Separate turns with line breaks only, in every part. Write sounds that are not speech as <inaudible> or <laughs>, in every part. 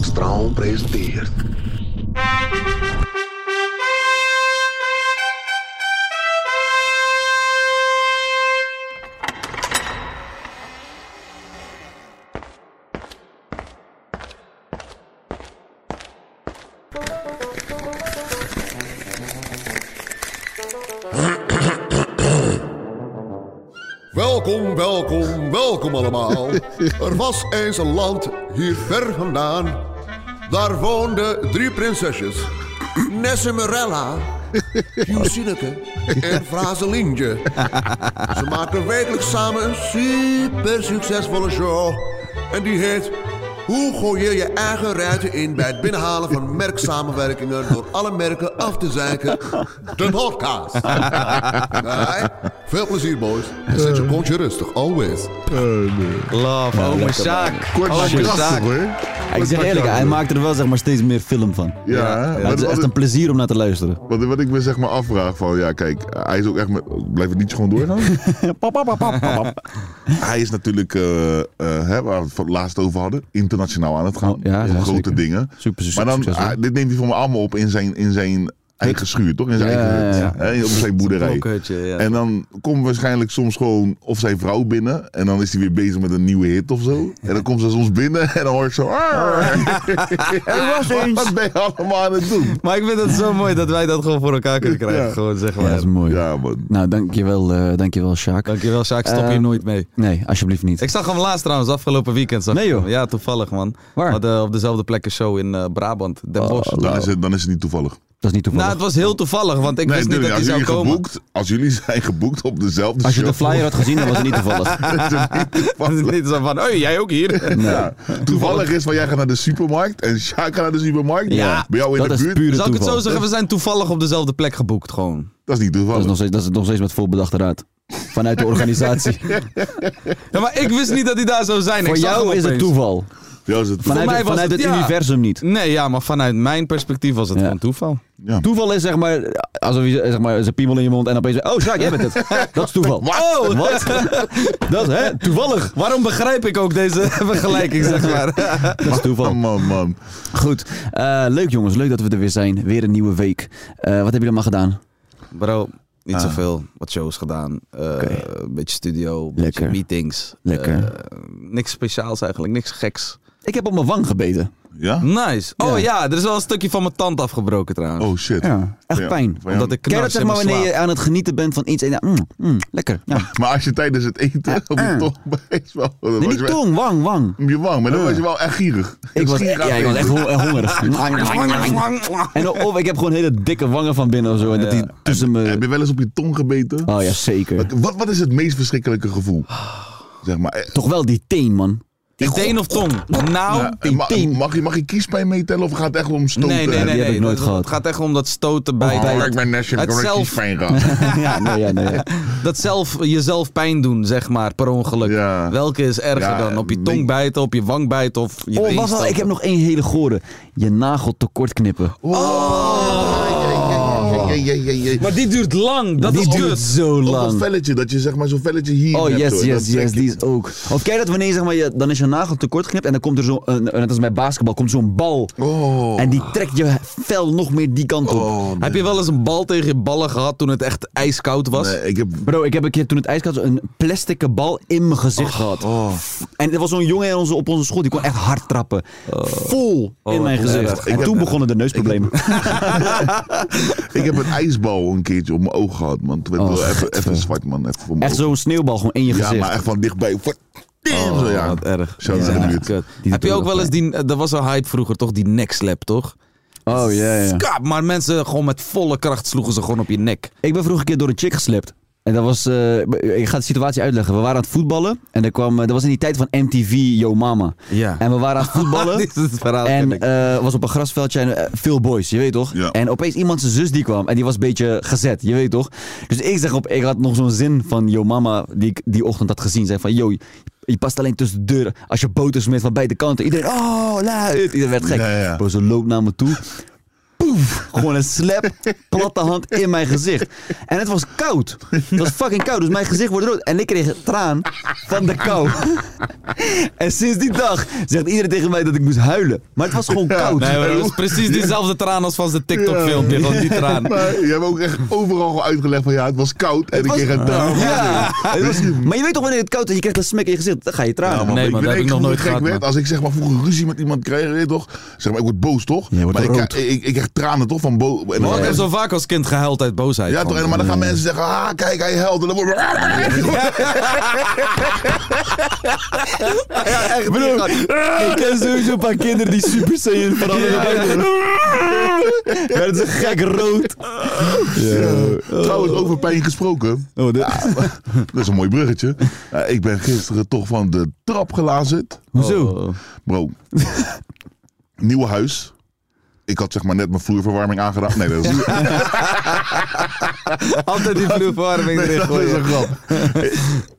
Straal presenteert.
Welkom, welkom, welkom allemaal. Er was eens een land hier ver vandaan. Daar woonden drie prinsesjes. Nessemerella, Jusineke en Frazelindje. Ze maakten wekelijks samen een super succesvolle show. En die heet... Hoe gooi je je eigen ruiten in bij het binnenhalen van merksamenwerkingen... door alle merken af te zeiken? De podcast. Nee, veel plezier, boys. En zet je kontje rustig, always.
Love, oh mijn zaak. Kort oh, mijn zaak.
Ik zeg eerlijk, hij maakt er wel zeg maar, steeds meer film van.
Ja, hè?
Maar het
Wat,
is echt
wat,
een plezier om naar te luisteren.
wat, wat ik me zeg maar afvraag van, ja kijk, hij is ook echt, met, blijft het niet gewoon doorgaan?
<laughs> Pap, pap, pap, pap, pap.
<laughs> hij is natuurlijk, eh, eh, hè, waar we het voor het laatst over hadden, internationaal aan het gaan.
Oh, ja, ja,
grote
zeker.
dingen.
Super
Maar dan,
succesvol.
ah, dit neemt hij voor me allemaal op in zijn, in zijn eigen schuur, toch? In zijn
Ja,
eigen hut,
ja, ja.
hè, op zijn boerderij.
Blokhutje, ja.
En dan komt waarschijnlijk soms gewoon of zijn vrouw binnen en dan is hij weer bezig met een nieuwe hit of zo. En dan komt ze soms binnen en dan hoor ik zo...
<laughs>
Er was <laughs> Wat ben je allemaal aan het doen?
Maar ik vind het zo mooi dat wij dat gewoon voor elkaar kunnen krijgen.
Ja.
Gewoon zeg
Ja,
maar.
dat is mooi.
Ja man.
Nou, dankjewel, eh dankjewel Sjaak.
Dankjewel, Sjaak. Stop hier
Ehm,
nooit mee.
Nee, alsjeblieft niet.
Ik zag hem laatst trouwens, afgelopen weekend. Zag ik
Nee, joh.
hem. Ja, toevallig man.
Waar? Oh,
We hadden op dezelfde plek een show in eh, Brabant, Den Bosch.
Nou,
Nou.
Dan is, het, dan is het niet toevallig.
Dat is niet toevallig.
nou, het was heel toevallig, want ik wist niet dat
tuurlijk,
hij zou
als jullie
komen.
Geboekt, als jullie <laughs> zijn geboekt op dezelfde
Als je
show,
de flyer had gezien, dan was het niet
<laughs>
toevallig.
is het niet
<laughs>
Het is <laughs>
toevallig.
niet zo van, oh, jij ook hier.
Ja. Toevallig is van jij gaat naar de supermarkt en Sjaak gaat naar de supermarkt.
Ja,
bij jou in
dat
de
is
buurt.
pure
Zal ik het zo
toeval.
zeggen, we zijn toevallig op dezelfde plek geboekt gewoon.
Dat is niet
Dat
toevallig.
is nog steeds, dat is nog steeds met voorbedachte raad.
<laughs>
Vanuit de organisatie.
Ja, maar ik wist niet dat hij daar zou zijn.
Voor
Ik zag hem
jou is het
opeens.
toeval.
Ja, is het
Vanuit,
mij
het-
was
vanuit
het-
het,
ja.
universum niet.
Nee, ja, maar vanuit mijn perspectief was het
Ja.
gewoon toeval.
Toeval is zeg maar, alsof je zeg maar, zijn piemel in je mond en opeens... Oh, Sjaak, jij bent het.
<laughs>
Dat is toeval.
Oh, <laughs>
Wat? Dat, hè? Toevallig.
Waarom begrijp ik ook deze <laughs> vergelijking, zeg maar?
Dat is toeval.
<laughs> Man, man, man.
Goed. Eh, leuk jongens, leuk dat we er weer zijn. Weer een nieuwe week. Eh, wat hebben jullie allemaal gedaan?
<laughs> Bro, niet zoveel. Wat shows gedaan. eh, Een beetje studio, een beetje
Lekker.
meetings.
Lekker.
Eh, niks speciaals eigenlijk, niks geks.
Ik heb op mijn wang gebeten.
Ja?
Hm?
Nice. Oh
Ja.
ja, er is wel een stukje van mijn tand afgebroken trouwens.
Oh shit.
Echt
Ja.
pijn.
Van jou-
Omdat ik
Ken je
knars
dat zeg
in
maar
mijn
wanneer je aan het genieten bent van iets en ja, mm, mm, lekker.
<laughs>
Ja.
Maar als je tijdens het eten op je tong <laughs> bijt, wel,
Nee,
dan was je
niet
wel-
tong, wang, wang.
op je wang, maar dan was je wel echt gierig.
Ik was,
Gierig aan
ja, ik was
het
echt
eten.
hon- eh, <laughs> hongerig. en of ik heb gewoon hele dikke wangen van binnen of zo. En dat die tussen
Heb
me...
je wel eens op je tong gebeten?
Oh ja, zeker.
Wat, wat is het meest verschrikkelijke gevoel?
Ah.
Zeg maar, eh,
Toch wel die teen, man.
slaap. Teen of tong? Nou,
Ja,
die
Eh, ma-
tien.
mag, je, mag je kiespijn meetellen of gaat het echt om stoten?
nee, nee, nee.
heb
nee,
ik nooit
het,
gehad.
Het gaat echt om dat stoten bij
Oh, ik ben Nash, ik
het
heb een
zelf,
<laughs>
kiespijn gehad.
ja, nee, ja, <laughs> nee. ja.
dat zelf jezelf pijn doen, zeg maar, per ongeluk.
Ja.
Welke is erger
Ja,
dan? Op je
nee.
tong bijten, op je wang bijten of je
Oh,
teen
wacht wel,
stoten?
ik heb nog één hele gore. Je nagel tekort knippen.
jee, jee, jee, jee.
Maar die duurt lang. Dat
die
is
duurt
kut.
zo
Ook een
lang.
velletje, dat je zeg maar zo'n velletje hier
Oh,
hebt,
yes,
hoor.
yes,
Dat trek
yes,
ik.
die is ook. Of kijk dat wanneer zeg maar, je, dan is je nagel tekort geknipt en dan komt er zo'n, eh, net als bij basketbal, komt zo'n bal.
Oh.
En die trekt je vel nog meer die kant op.
Oh,
Heb je wel eens een bal tegen je ballen gehad toen het echt ijskoud was?
nee, Eh, ik heb...
Bro, ik heb een keer toen het ijskoud was een plastic bal in mijn gezicht gehad. En er was zo'n jongen in onze, op onze school, die kon echt hard trappen. Vol in mijn
wat
gezicht.
erg. Ik
En
heb-
toen begonnen de neusproblemen.
Ik heb een ijsbal een keertje op mijn oog gehad, man. Toen werd
Oh,
ik wel even,
gadver.
even zwart, man. Even voor mijn
Echt
oog.
zo'n sneeuwbal gewoon in je
Ja,
gezicht. Oh,
maar echt van dichtbij.
Oh,
Verdien, zo, ja.
Wat erg.
Zo, dat
Ja,
is echt
echt
kut.
kut.
Die
Heb
doet
je ook
nog
wel eens
pijn.
die... Er was een hype vroeger toch, die nekslap, toch?
Oh ja, ja.
Skap, maar mensen gewoon met volle kracht sloegen ze gewoon op je nek.
Ik ben vroeger een keer door een chick geslept. En dat was, eh, ik ga de situatie uitleggen. We waren aan het voetballen en er kwam, eh, dat was in die tijd van MTV Yo Mama.
Ja.
En we waren
<laughs>
aan het voetballen.
Dit is het verhaal, ken
En
ik.
eh, was op een grasveldje en eh, veel boys, je weet toch?
Ja.
En opeens iemand zijn zus die kwam en die was een beetje gezet, je weet toch? Dus ik zeg op, ik had nog zo'n zin van yo mama die ik die ochtend had gezien. Zei van yo, je past alleen tussen de deuren als je boter smeert van beide kanten. Iedereen, oh, luid. Iedereen werd gek.
Ja, ja.
Bro, ze loopt naar me toe. Poef, gewoon een slap, platte hand in mijn gezicht. En het was koud. Het was fucking koud, dus mijn gezicht wordt rood. En ik kreeg een traan van de kou. En sinds die dag zegt iedereen tegen mij dat ik moest huilen. Maar het was gewoon koud.
Nee, maar dat is precies diezelfde traan als van zijn TikTok-filmpje. Gewoon die traan.
Maar je hebt ook echt overal uitgelegd van ja, het was koud en ik
was- Oh.
kreeg een duim.
Ja, het was- maar je weet toch wanneer het koud is en je krijgt een smek in je gezicht, dan ga je tranen.
man. Nee,
ik
dat
ben
heb ik
echt
nog
hoe
nooit
gek
gehad,
werd.
man.
Als ik zeg maar vroeger ruzie met iemand kreeg, weet je toch? Zeg maar, ik word boos toch?
je wordt
maar ik,
rood.
ik, ik, ik krijg tranen toch van boos. En dan
Maar ik heb
mensen-
zo vaak als kind gehuild uit boosheid.
ja, toch? En- Maar dan gaan mensen zeggen, ah, kijk, hij helpt. En dan word
Bro, ik ken sowieso een paar kinderen die super saiyan veranderen. Maar het is een gek rood.
Oh. Trouwens, over pijn gesproken.
Oh,
Ja, <laughs> dat is een mooi bruggetje. Ja, ik ben gisteren toch van de trap gelazerd.
Hoezo?
Bro, <laughs> nieuw huis. Ik had zeg maar net mijn vloerverwarming aangedaan. Nee, dat is
Altijd die vloerverwarming
Nee,
erin
dat is
gooien.
een grap.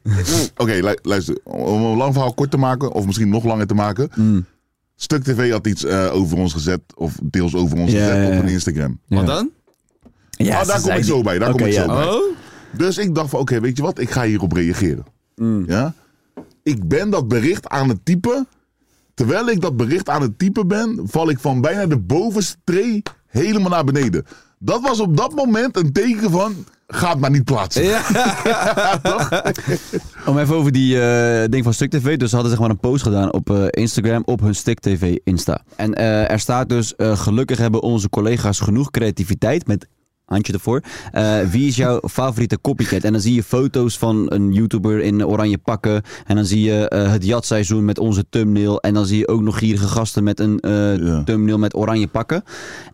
Mm. Oké, lu- luister. Om een lang verhaal kort te maken, of misschien nog langer te maken.
Mm.
Stuk TV had iets eh, over ons gezet, of deels over ons
Ja,
gezet
ja, ja.
op een Instagram.
Wat dan?
Ja,
Ah, daar kom ik zo bij, daar kom ik zo bij.
Oh?
Dus ik dacht van, oké, weet je wat? Ik ga hierop reageren.
Mm.
Ja? Ik ben dat bericht aan het typen. Terwijl ik dat bericht aan het typen ben, val ik van bijna de bovenste tree helemaal naar beneden. Dat was op dat moment een teken van, ga het maar niet plaatsen.
<laughs> Om even over die eh, ding van Stuk TV. Dus ze hadden zeg maar een post gedaan op eh, Instagram op hun Stuk TV Insta. En eh, er staat dus, eh, gelukkig hebben onze collega's genoeg creativiteit met handje ervoor. Eh, wie is jouw favoriete copycat? En dan zie je foto's van een YouTuber in oranje pakken. En dan zie je eh, het jatseizoen met onze thumbnail. En dan zie je ook nog gierige gasten met een eh,
Ja.
thumbnail met oranje pakken.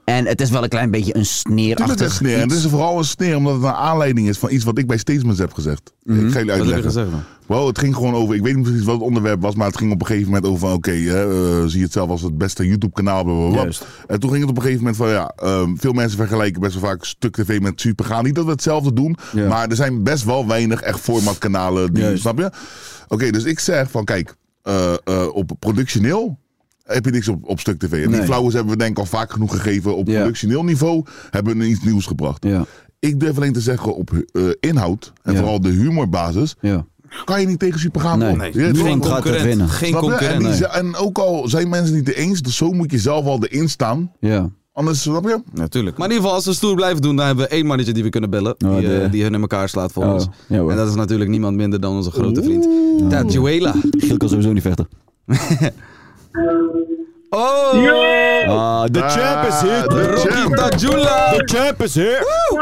En het is wel een klein beetje een
Tuurlijk
sneerachtig
is het sneer. En het is vooral een sneer omdat het een aanleiding is van iets wat ik bij Statements heb gezegd. Ik ga jullie
Wat heb je
uitleggen.
gezegd, man?
Wow, het ging gewoon over, ik weet niet precies wat het onderwerp was, maar het ging op een gegeven moment over van, oké, hè, eh, zie je het zelf als het beste YouTube-kanaal, blablabla.
Juist.
En toen ging het op een gegeven moment van, ja, ehm, veel mensen vergelijken best wel vaak Stuk TV met Supergaan. Niet dat we hetzelfde doen,
Ja.
maar er zijn best wel weinig echt formatkanalen, die,
Juist.
snap je? Oké, dus ik zeg van, kijk, eh, eh, op productioneel heb je niks op, op Stuk TV. En die
Nee.
flauwes hebben we denk ik al vaak genoeg gegeven op
Ja.
productioneel niveau, hebben we iets nieuws gebracht.
Ja,
Ik durf alleen te zeggen op eh, inhoud, en
Ja.
vooral de humorbasis,
ja.
kan je niet tegen Supergaan
Nee.
op.
Nee.
Je weet
Niemand
toch?
gaat er winnen.
Geen
Snap je? En,
concurrent.
die
Nee.
ze- en ook al zijn mensen het niet eens, dus zo moet je zelf al erin staan.
ja.
Anders, snap je?
Natuurlijk.
Maar in ieder geval, als we stoer blijven doen, dan hebben we één mannetje die we kunnen bellen.
Oh,
die, eh,
de-
die hun in elkaar slaat voor
Oh,
ons.
ja, hoor.
en dat is natuurlijk niemand minder dan onze grote vriend. Tadjuela.
Giel kan sowieso niet vechten.
Oh!
Ah, de champ is
Ah,
hier.
de champ.
Tadjula!
The champ is here. God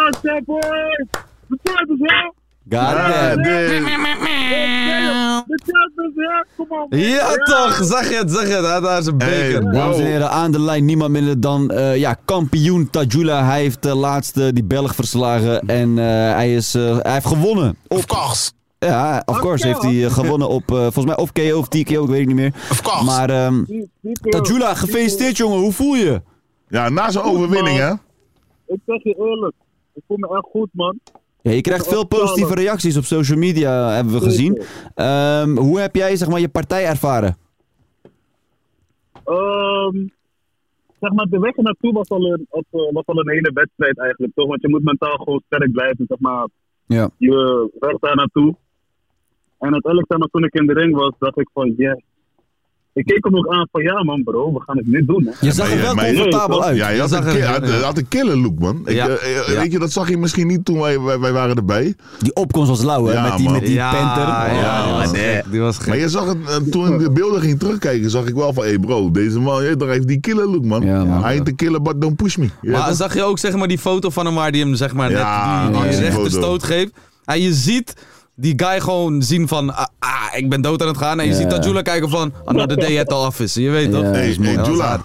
Ah,
damn.
nee.
Ja toch, zag je het, zag je het. Hij had daar zijn
Hey,
beker.
Dames en
wow.
heren, aan de lijn niemand minder dan eh, ja, kampioen Tajula. Hij heeft de laatste die Belg verslagen en eh, hij, is, eh, hij heeft gewonnen. Of course. Ja, of course heeft hij eh, gewonnen op eh, volgens mij of KO of TKO, ik weet het niet meer. Of course. Maar ehm Tajula, gefeliciteerd jongen, hoe voel je?
Ja, na zo'n overwinning, hè?
Ik zeg je eerlijk, ik voel me echt goed, man.
Ja, je krijgt veel positieve reacties op social media, hebben we gezien. Ehm, hoe heb jij zeg maar, je partij ervaren?
Ehm, zeg maar, de weg naartoe was al, een, op, eh, was al een hele wedstrijd eigenlijk, toch? Want je moet mentaal gewoon sterk blijven, zeg maar.
Ja.
Je weg daar naartoe. En uiteindelijk, zeg maar, toen ik in de ring was, dacht ik van, yes. Ik keek hem ook aan van, ja man bro, we gaan het nu doen. Hè.
Je zag er
maar-
wel
maar-
comfortabel uit.
Ja, je
Je
had,
zag
een,
er-
ki- had, had een killer look, man. Ik,
Ja.
eh, eh,
Ja.
Weet je, dat zag je misschien niet toen wij, wij, wij waren erbij.
Die opkomst was lauw, hè?
Ja,
met die,
man.
met die Oh, panter.
Ja,
Ja,
die was
man,
gek, Die was
Maar
gek.
je zag het, eh, toen ik de beelden ging terugkijken, zag ik wel van, hé hey bro, deze man, je, heeft die killer look, man.
Ja, man.
Hij ain't the killer, but don't push me. Ja,
Maar
toch?
zag je ook zeg maar, die foto van hem waar die hem zeg maar,
Ja,
net die, die
ja, die
rechte
foto.
stoot geeft? En je ziet die guy gewoon zien van, ah, ah, ik ben dood aan het gaan. En je
Ja.
ziet dat Jula kijken van, another day het al af is. Je weet toch?
Ja.
Hey,
dat is
hey,
mooi.
Jula.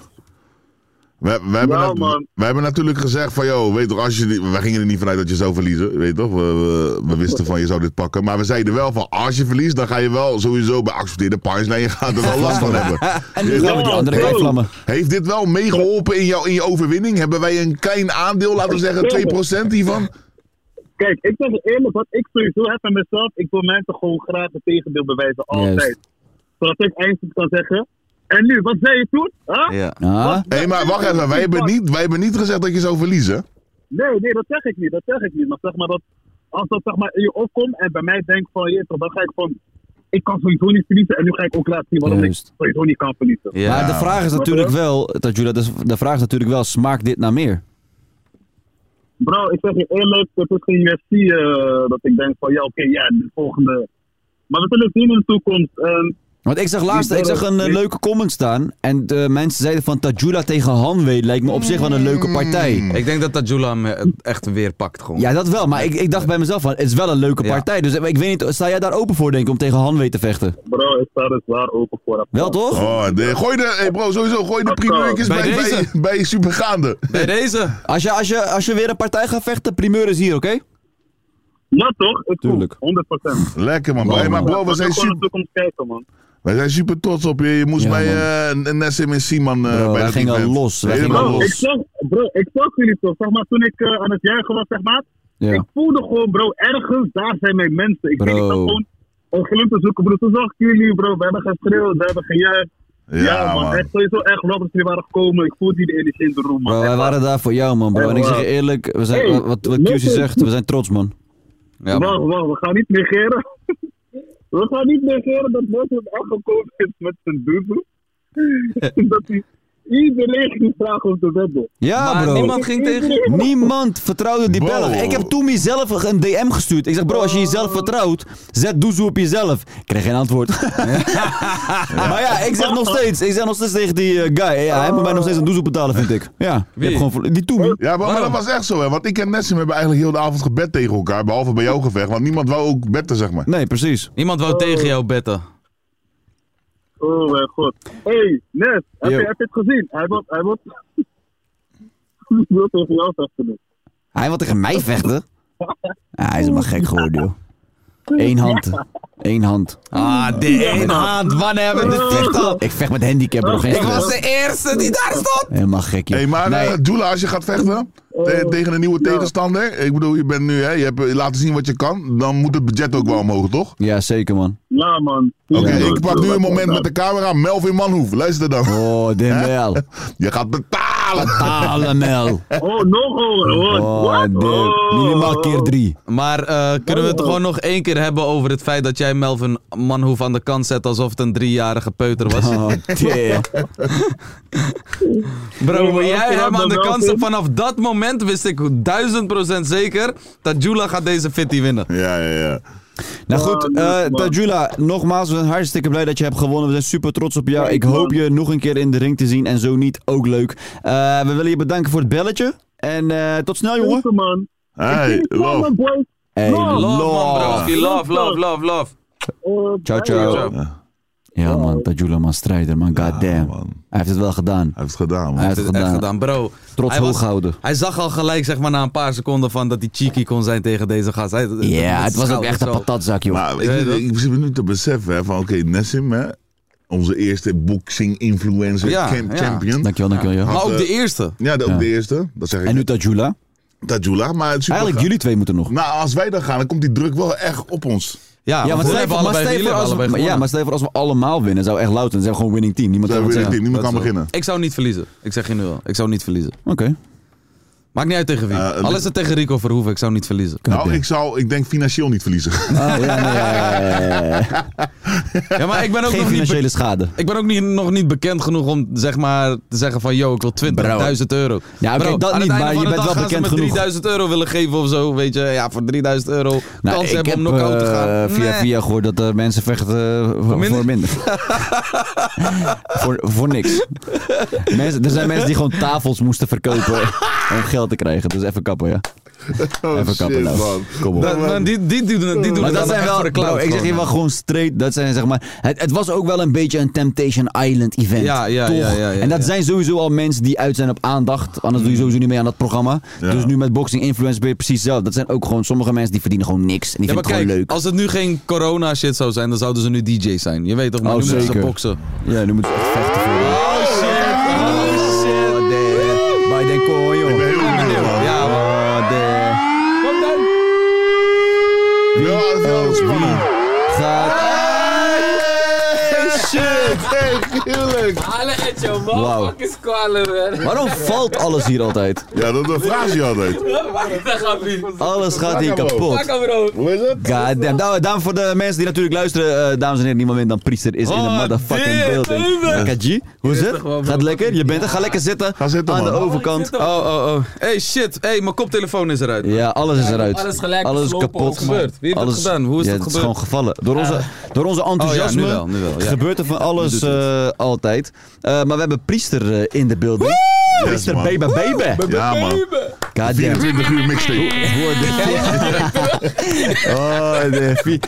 We, we, hebben
Ja,
nat-
man.
we hebben natuurlijk gezegd van, joh, weet toch, als je, niet- wij gingen er niet vanuit dat je zou verliezen, weet toch? We, we, we wisten van, je zou dit pakken. Maar we zeiden wel van, als je verliest, dan ga je wel sowieso bij accepteerde punchline, je gaat er wel last van hebben.
<laughs> En die
Ja,
met die andere
bro.
vlammen.
Heeft dit wel meegeholpen in, jou, in je overwinning? Hebben wij een klein aandeel, laten we zeggen 2% hiervan?
Kijk, ik zeg je eerlijk, wat ik sowieso heb aan mezelf, ik wil mensen gewoon graag het tegendeel bewijzen, altijd.
Juist.
Zodat ik eindelijk kan zeggen, en nu, wat zei je toen? Huh?
Ja.
Ah,
Hé, maar wacht even. Wij hebben, niet, wij hebben niet gezegd dat je zou verliezen.
Nee, nee, dat zeg ik niet, dat zeg ik niet. Maar zeg maar dat, als dat zeg maar in je opkomt en bij mij denkt van, jeetje, dan ga ik van, ik kan sowieso niet verliezen en nu ga ik ook laten zien waarom
Juist.
ik sowieso niet kan verliezen.
Ja.
Maar de vraag is natuurlijk wel, dat Jula, dus de vraag is natuurlijk wel, smaakt dit naar meer?
Bro, ik zeg je eerlijk, het is geen UFC eh, dat ik denk van, ja oké, ja, de volgende. Maar we zullen het zien in de toekomst. En
Want ik zag laatst ik zag een eh, leuke comment staan. En de mensen zeiden van Tajula tegen Hanwee lijkt me op zich wel een leuke partij.
Ik denk dat dat Jula hem eh, echt weer pakt gewoon.
Ja, dat wel. Maar ik, ik dacht bij mezelf van, het is wel een leuke
Ja.
partij. Dus ik weet niet, sta jij daar open voor denk ik om tegen Hanwee te vechten?
bro, ik sta er zwaar open voor.
Wel toch?
Oh, de, gooi de, hey bro, sowieso, gooi de primeurtjes bij,
Bij
bij, bij,
deze.
Supergaande.
Bij deze.
Als je, als, je, als je weer een partij gaat vechten, primeur is hier, oké?
Ja toch? Ik
Tuurlijk.
100%.
Lekker, man. Hey, maar bro, we zijn,
gewoon naar de
super,
toekomst kijken, man.
wij zijn super trots op je. Je moest
Ja,
bij
man.
eh, Nessim en Simon eh
Bro,
bij
wij
dat
gingen
event.
los, wij
Helemaal
gingen
Bro, ik
los.
zag, bro, ik zag jullie toch, zeg maar, toen ik eh, aan het juichen was, zeg maar. Ik
Ja.
voelde gewoon, bro, ergens, daar zijn mijn mensen. Ik
Bro.
weet niet, ik zat gewoon een glimp te zoeken, bro. Toen zag ik jullie, bro, we hebben geschreeuwd, we hebben gejuicht. Ja, man, echt sowieso echt wel dat jullie waren gekomen. Ik voelde die energie in de room,
Bro,
man. Echt
wij
waar.
waren daar voor jou, man, bro. En ik zeg je eerlijk, we zijn,
Hey,
wat, wat QC
listen.
zegt, we zijn trots, man.
Ja, man.
wacht, wacht, we gaan niet negeren. <laughs> we gaan niet negeren dat Moslim echt gekomen is met zijn doezoe. <laughs> dat hij iedereen ging vragen om te wedden.
Ja,
maar
bro.
niemand ging tegen...
Niemand vertrouwde die
Wow.
Belg. Ik heb Toemie zelf een DM gestuurd. Ik zeg, bro, als je jezelf vertrouwt, zet doezoe op jezelf. Ik kreeg geen antwoord.
<laughs>
<laughs> Maar ja, ik zeg nog steeds, ik zeg nog steeds tegen die eh, guy. Ja, hij moet mij nog steeds een doezoe betalen, vind ik. Ja, je
Wie?
hebt gewoon, ver- die Toemie.
Ja, maar, maar dat was echt zo, hè. Want ik en Nessim hebben eigenlijk heel de avond gebed tegen elkaar. Behalve bij jou gevecht. Want niemand wou ook betten, zeg maar.
Nee, precies.
Niemand wou tegen jou betten.
Oh mijn god. hey, Nes, heb
Yo.
je, heb je het gezien? Hij wil, hij wil... <laughs> Hij wil tegen jou vechten nu.
Hij wil tegen mij vechten. Ah, hij is helemaal gek geworden, joh. Eén hand. Eén hand.
Ah, de één hand. Wanneer hebben we dit
Ik
vecht al?
vecht- Ik vecht met handicap, bro. Geen
Ik was
stress.
de eerste die daar stond.
Helemaal gek, joh.
Hé, hey, maar
Nee.
eh, Dula, als je gaat vechten
Oh.
te- tegen een nieuwe tegenstander. Ik bedoel, je bent nu, hè, je hebt eh, laten zien wat je kan. Dan moet het budget ook wel omhoog, toch?
Ja, zeker, man.
Ja, man.
Oké,
Ja,
ik pak nu
bro,
een moment
bro.
met de camera. Melvin Manhoef, luister dan.
Oh, Dembel.
<laughs> Je gaat betalen.
Allemaal.
Oh, nog hoor. Oh,
Oh,
what?
de,
Oh.
minimaal keer drie.
Maar eh, kunnen we het gewoon nog één keer hebben over het feit dat jij Melvin Manhoef aan de kant zet alsof het een driejarige peuter
<laughs>
was?
Oh, damn.
Bro, wil
maar als
jij
je
hem
dat
aan de
dan
kant
wel
zetten? Vanaf dat moment wist ik duizend procent zeker dat Jula gaat deze fitty winnen.
Ja, ja, ja.
Nou goed,
Oh,
eh
leuk, man.
Tajula, nogmaals, we zijn hartstikke blij dat je hebt gewonnen. We zijn super trots op jou.
Leuk,
Ik hoop
man.
je nog een keer in de ring te zien en zo niet, ook leuk. Eh, we willen je bedanken voor het belletje. En eh, tot snel, jongen.
Super, man.
Hey,
Jullie komen,
love.
boys.
Hey,
Love,
Love, man,
love.
broski. Love, love, love, love.
Eh,
Ciao,
bye,
ciao.
joh.
Ja man, Tajula man, strijder man, goddamn.
man.
Hij heeft het wel gedaan.
Hij heeft het gedaan,
Hij
man.
heeft
Dit
het
is echt
gedaan.
gedaan, bro.
Trots
Hij was-
hoog houden.
Hij zag al gelijk, zeg maar, na een paar seconden van dat hij cheeky kon zijn tegen deze gast. Hij-
Ja,
met
het was ook
schouders
echt een
zo.
patatzak, joh.
Maar ik,
Ja, dat-
ik, ik zit me nu te beseffen hè, van, oké, Nessim, hè, onze eerste boxing-influencer
Ja,
champ-
ja.
champion.
Dankjewel, dankjewel, joh.
Maar ook
eh,
de eerste.
Ja, de- ook de eerste. Dat zeg ik.
En nu Tajula.
Tajula, maar het is super
Eigenlijk jullie twee moeten nog.
Nou, als wij dan gaan, dan komt die druk wel echt op ons.
Ja,
Ja,
want
maar
we
stel je
hebben
voor- maar
allebei
stel
wielen,
je voor als
allebei
we- ja,
gewonnen.
maar stel je voor als we allemaal winnen, zou echt louter. Dan zijn we gewoon winning team. Niemand
Zij
kan wat
weet ik
zeggen.
niet, niemand
Dat is
kan
wel-
beginnen.
Ik zou niet verliezen. Ik zeg je nu al. Ik zou niet verliezen.
Oké.
Maakt niet uit tegen wie.
Eh,
Alles
eh,
Al is het tegen Rico Verhoeven, ik zou niet
<laughs>
verliezen.
Nou, ik zou, ik denk financieel niet verliezen.
Oh,
Ah,
ja, nee, ja, ja, ja, ja.
Ja, maar ik ben ook nog
Geen
niet... be-
financiële schade.
Ik ben ook niet, nog niet bekend genoeg om zeg maar, te zeggen van... yo, ik wil 20.000 euro.
Ja, oké,
Bro,
dat
aan
niet,
het einde
maar
van
je
de
bent
dag gaan
wel
ze
bekend
me
genoeg.
3000 euro willen geven of zo, weet je. Ja, voor 3000 euro
Nou,
kans
ik
hebben om
heb,
knock-out te
eh,
gaan.
Via
Nee.
via gehoord dat eh, mensen vechten eh, voor
minder?
voor
<laughs>
minder. voor, voor niks. Mensen, er zijn mensen die gewoon tafels moesten
<laughs>
verkopen om geld te krijgen. Dus even kappen, ja.
Oh,
Even kappen, nou. Kom op.
Maar- maar die, die doen het, die doen het
Maar dat
dan
zijn
echt
wel,
voor de cloud.
bro, ik zeg je
gewoon.
wel gewoon straight, dat zijn zeg maar, het, het was ook wel een beetje een Temptation Island event.
Ja, ja,
toch?
ja, ja, ja,
en dat
ja. Mm.
zijn sowieso al mensen die uit zijn op aandacht, anders doe je sowieso niet mee aan dat programma.
Ja.
Dus nu met Boxing Influence ben je precies zelf. Dat zijn ook gewoon sommige mensen die verdienen gewoon niks en die
Ja, maar
vinden het
kijk,
gewoon leuk.
als het nu geen corona shit zou zijn, dan zouden ze nu DJ zijn. Je weet toch, maar
Oh,
nu moeten ze
zeker.
boksen.
Ja, nu moeten ze echt vechten voor. Oh shit! Oh shit! Biden kon, oh, joh.
Ik ben heel benieuwd, man.
Ja, man.
Oh, de-
Ja, dat is wel spannend.
Gaat...
Shit, echt, heerlijk.
Ah, Wauw. Waarom valt alles hier altijd?
<laughs> Ja, dat is een fraasje altijd.
Alles gaat hier kapot.
Hoe is het?
God damn. Nou, dames voor de mensen die natuurlijk luisteren, eh, dames en heren, niemand minder dan Priester is in de
Oh,
motherfucking
dit,
building. Lekker G, hoe is het? Gaat lekker? Je bent er? Ga lekker zitten.
Ga zitten,
Aan de
man.
overkant.
Oh, oh, oh. Hey, shit. Hey, mijn koptelefoon is eruit.
Ja, alles is eruit.
alles gelijk
Alles is
geslopen,
kapot.
alles
gebeurd. Wie heeft dat
alles,
gedaan? Hoe is
ja,
dat
het is
gebeurd? Oh
gewoon gevallen. Door onze, door onze enthousiasme
nu wel, nu wel, ja.
gebeurt er van alles eh, altijd. Eh, maar we hebben Priester eh, in de building. Priester
man.
Baby Baby. God
Ja, man.
<laughs>
damn.
24 uur mixtape.
Oh, de vi-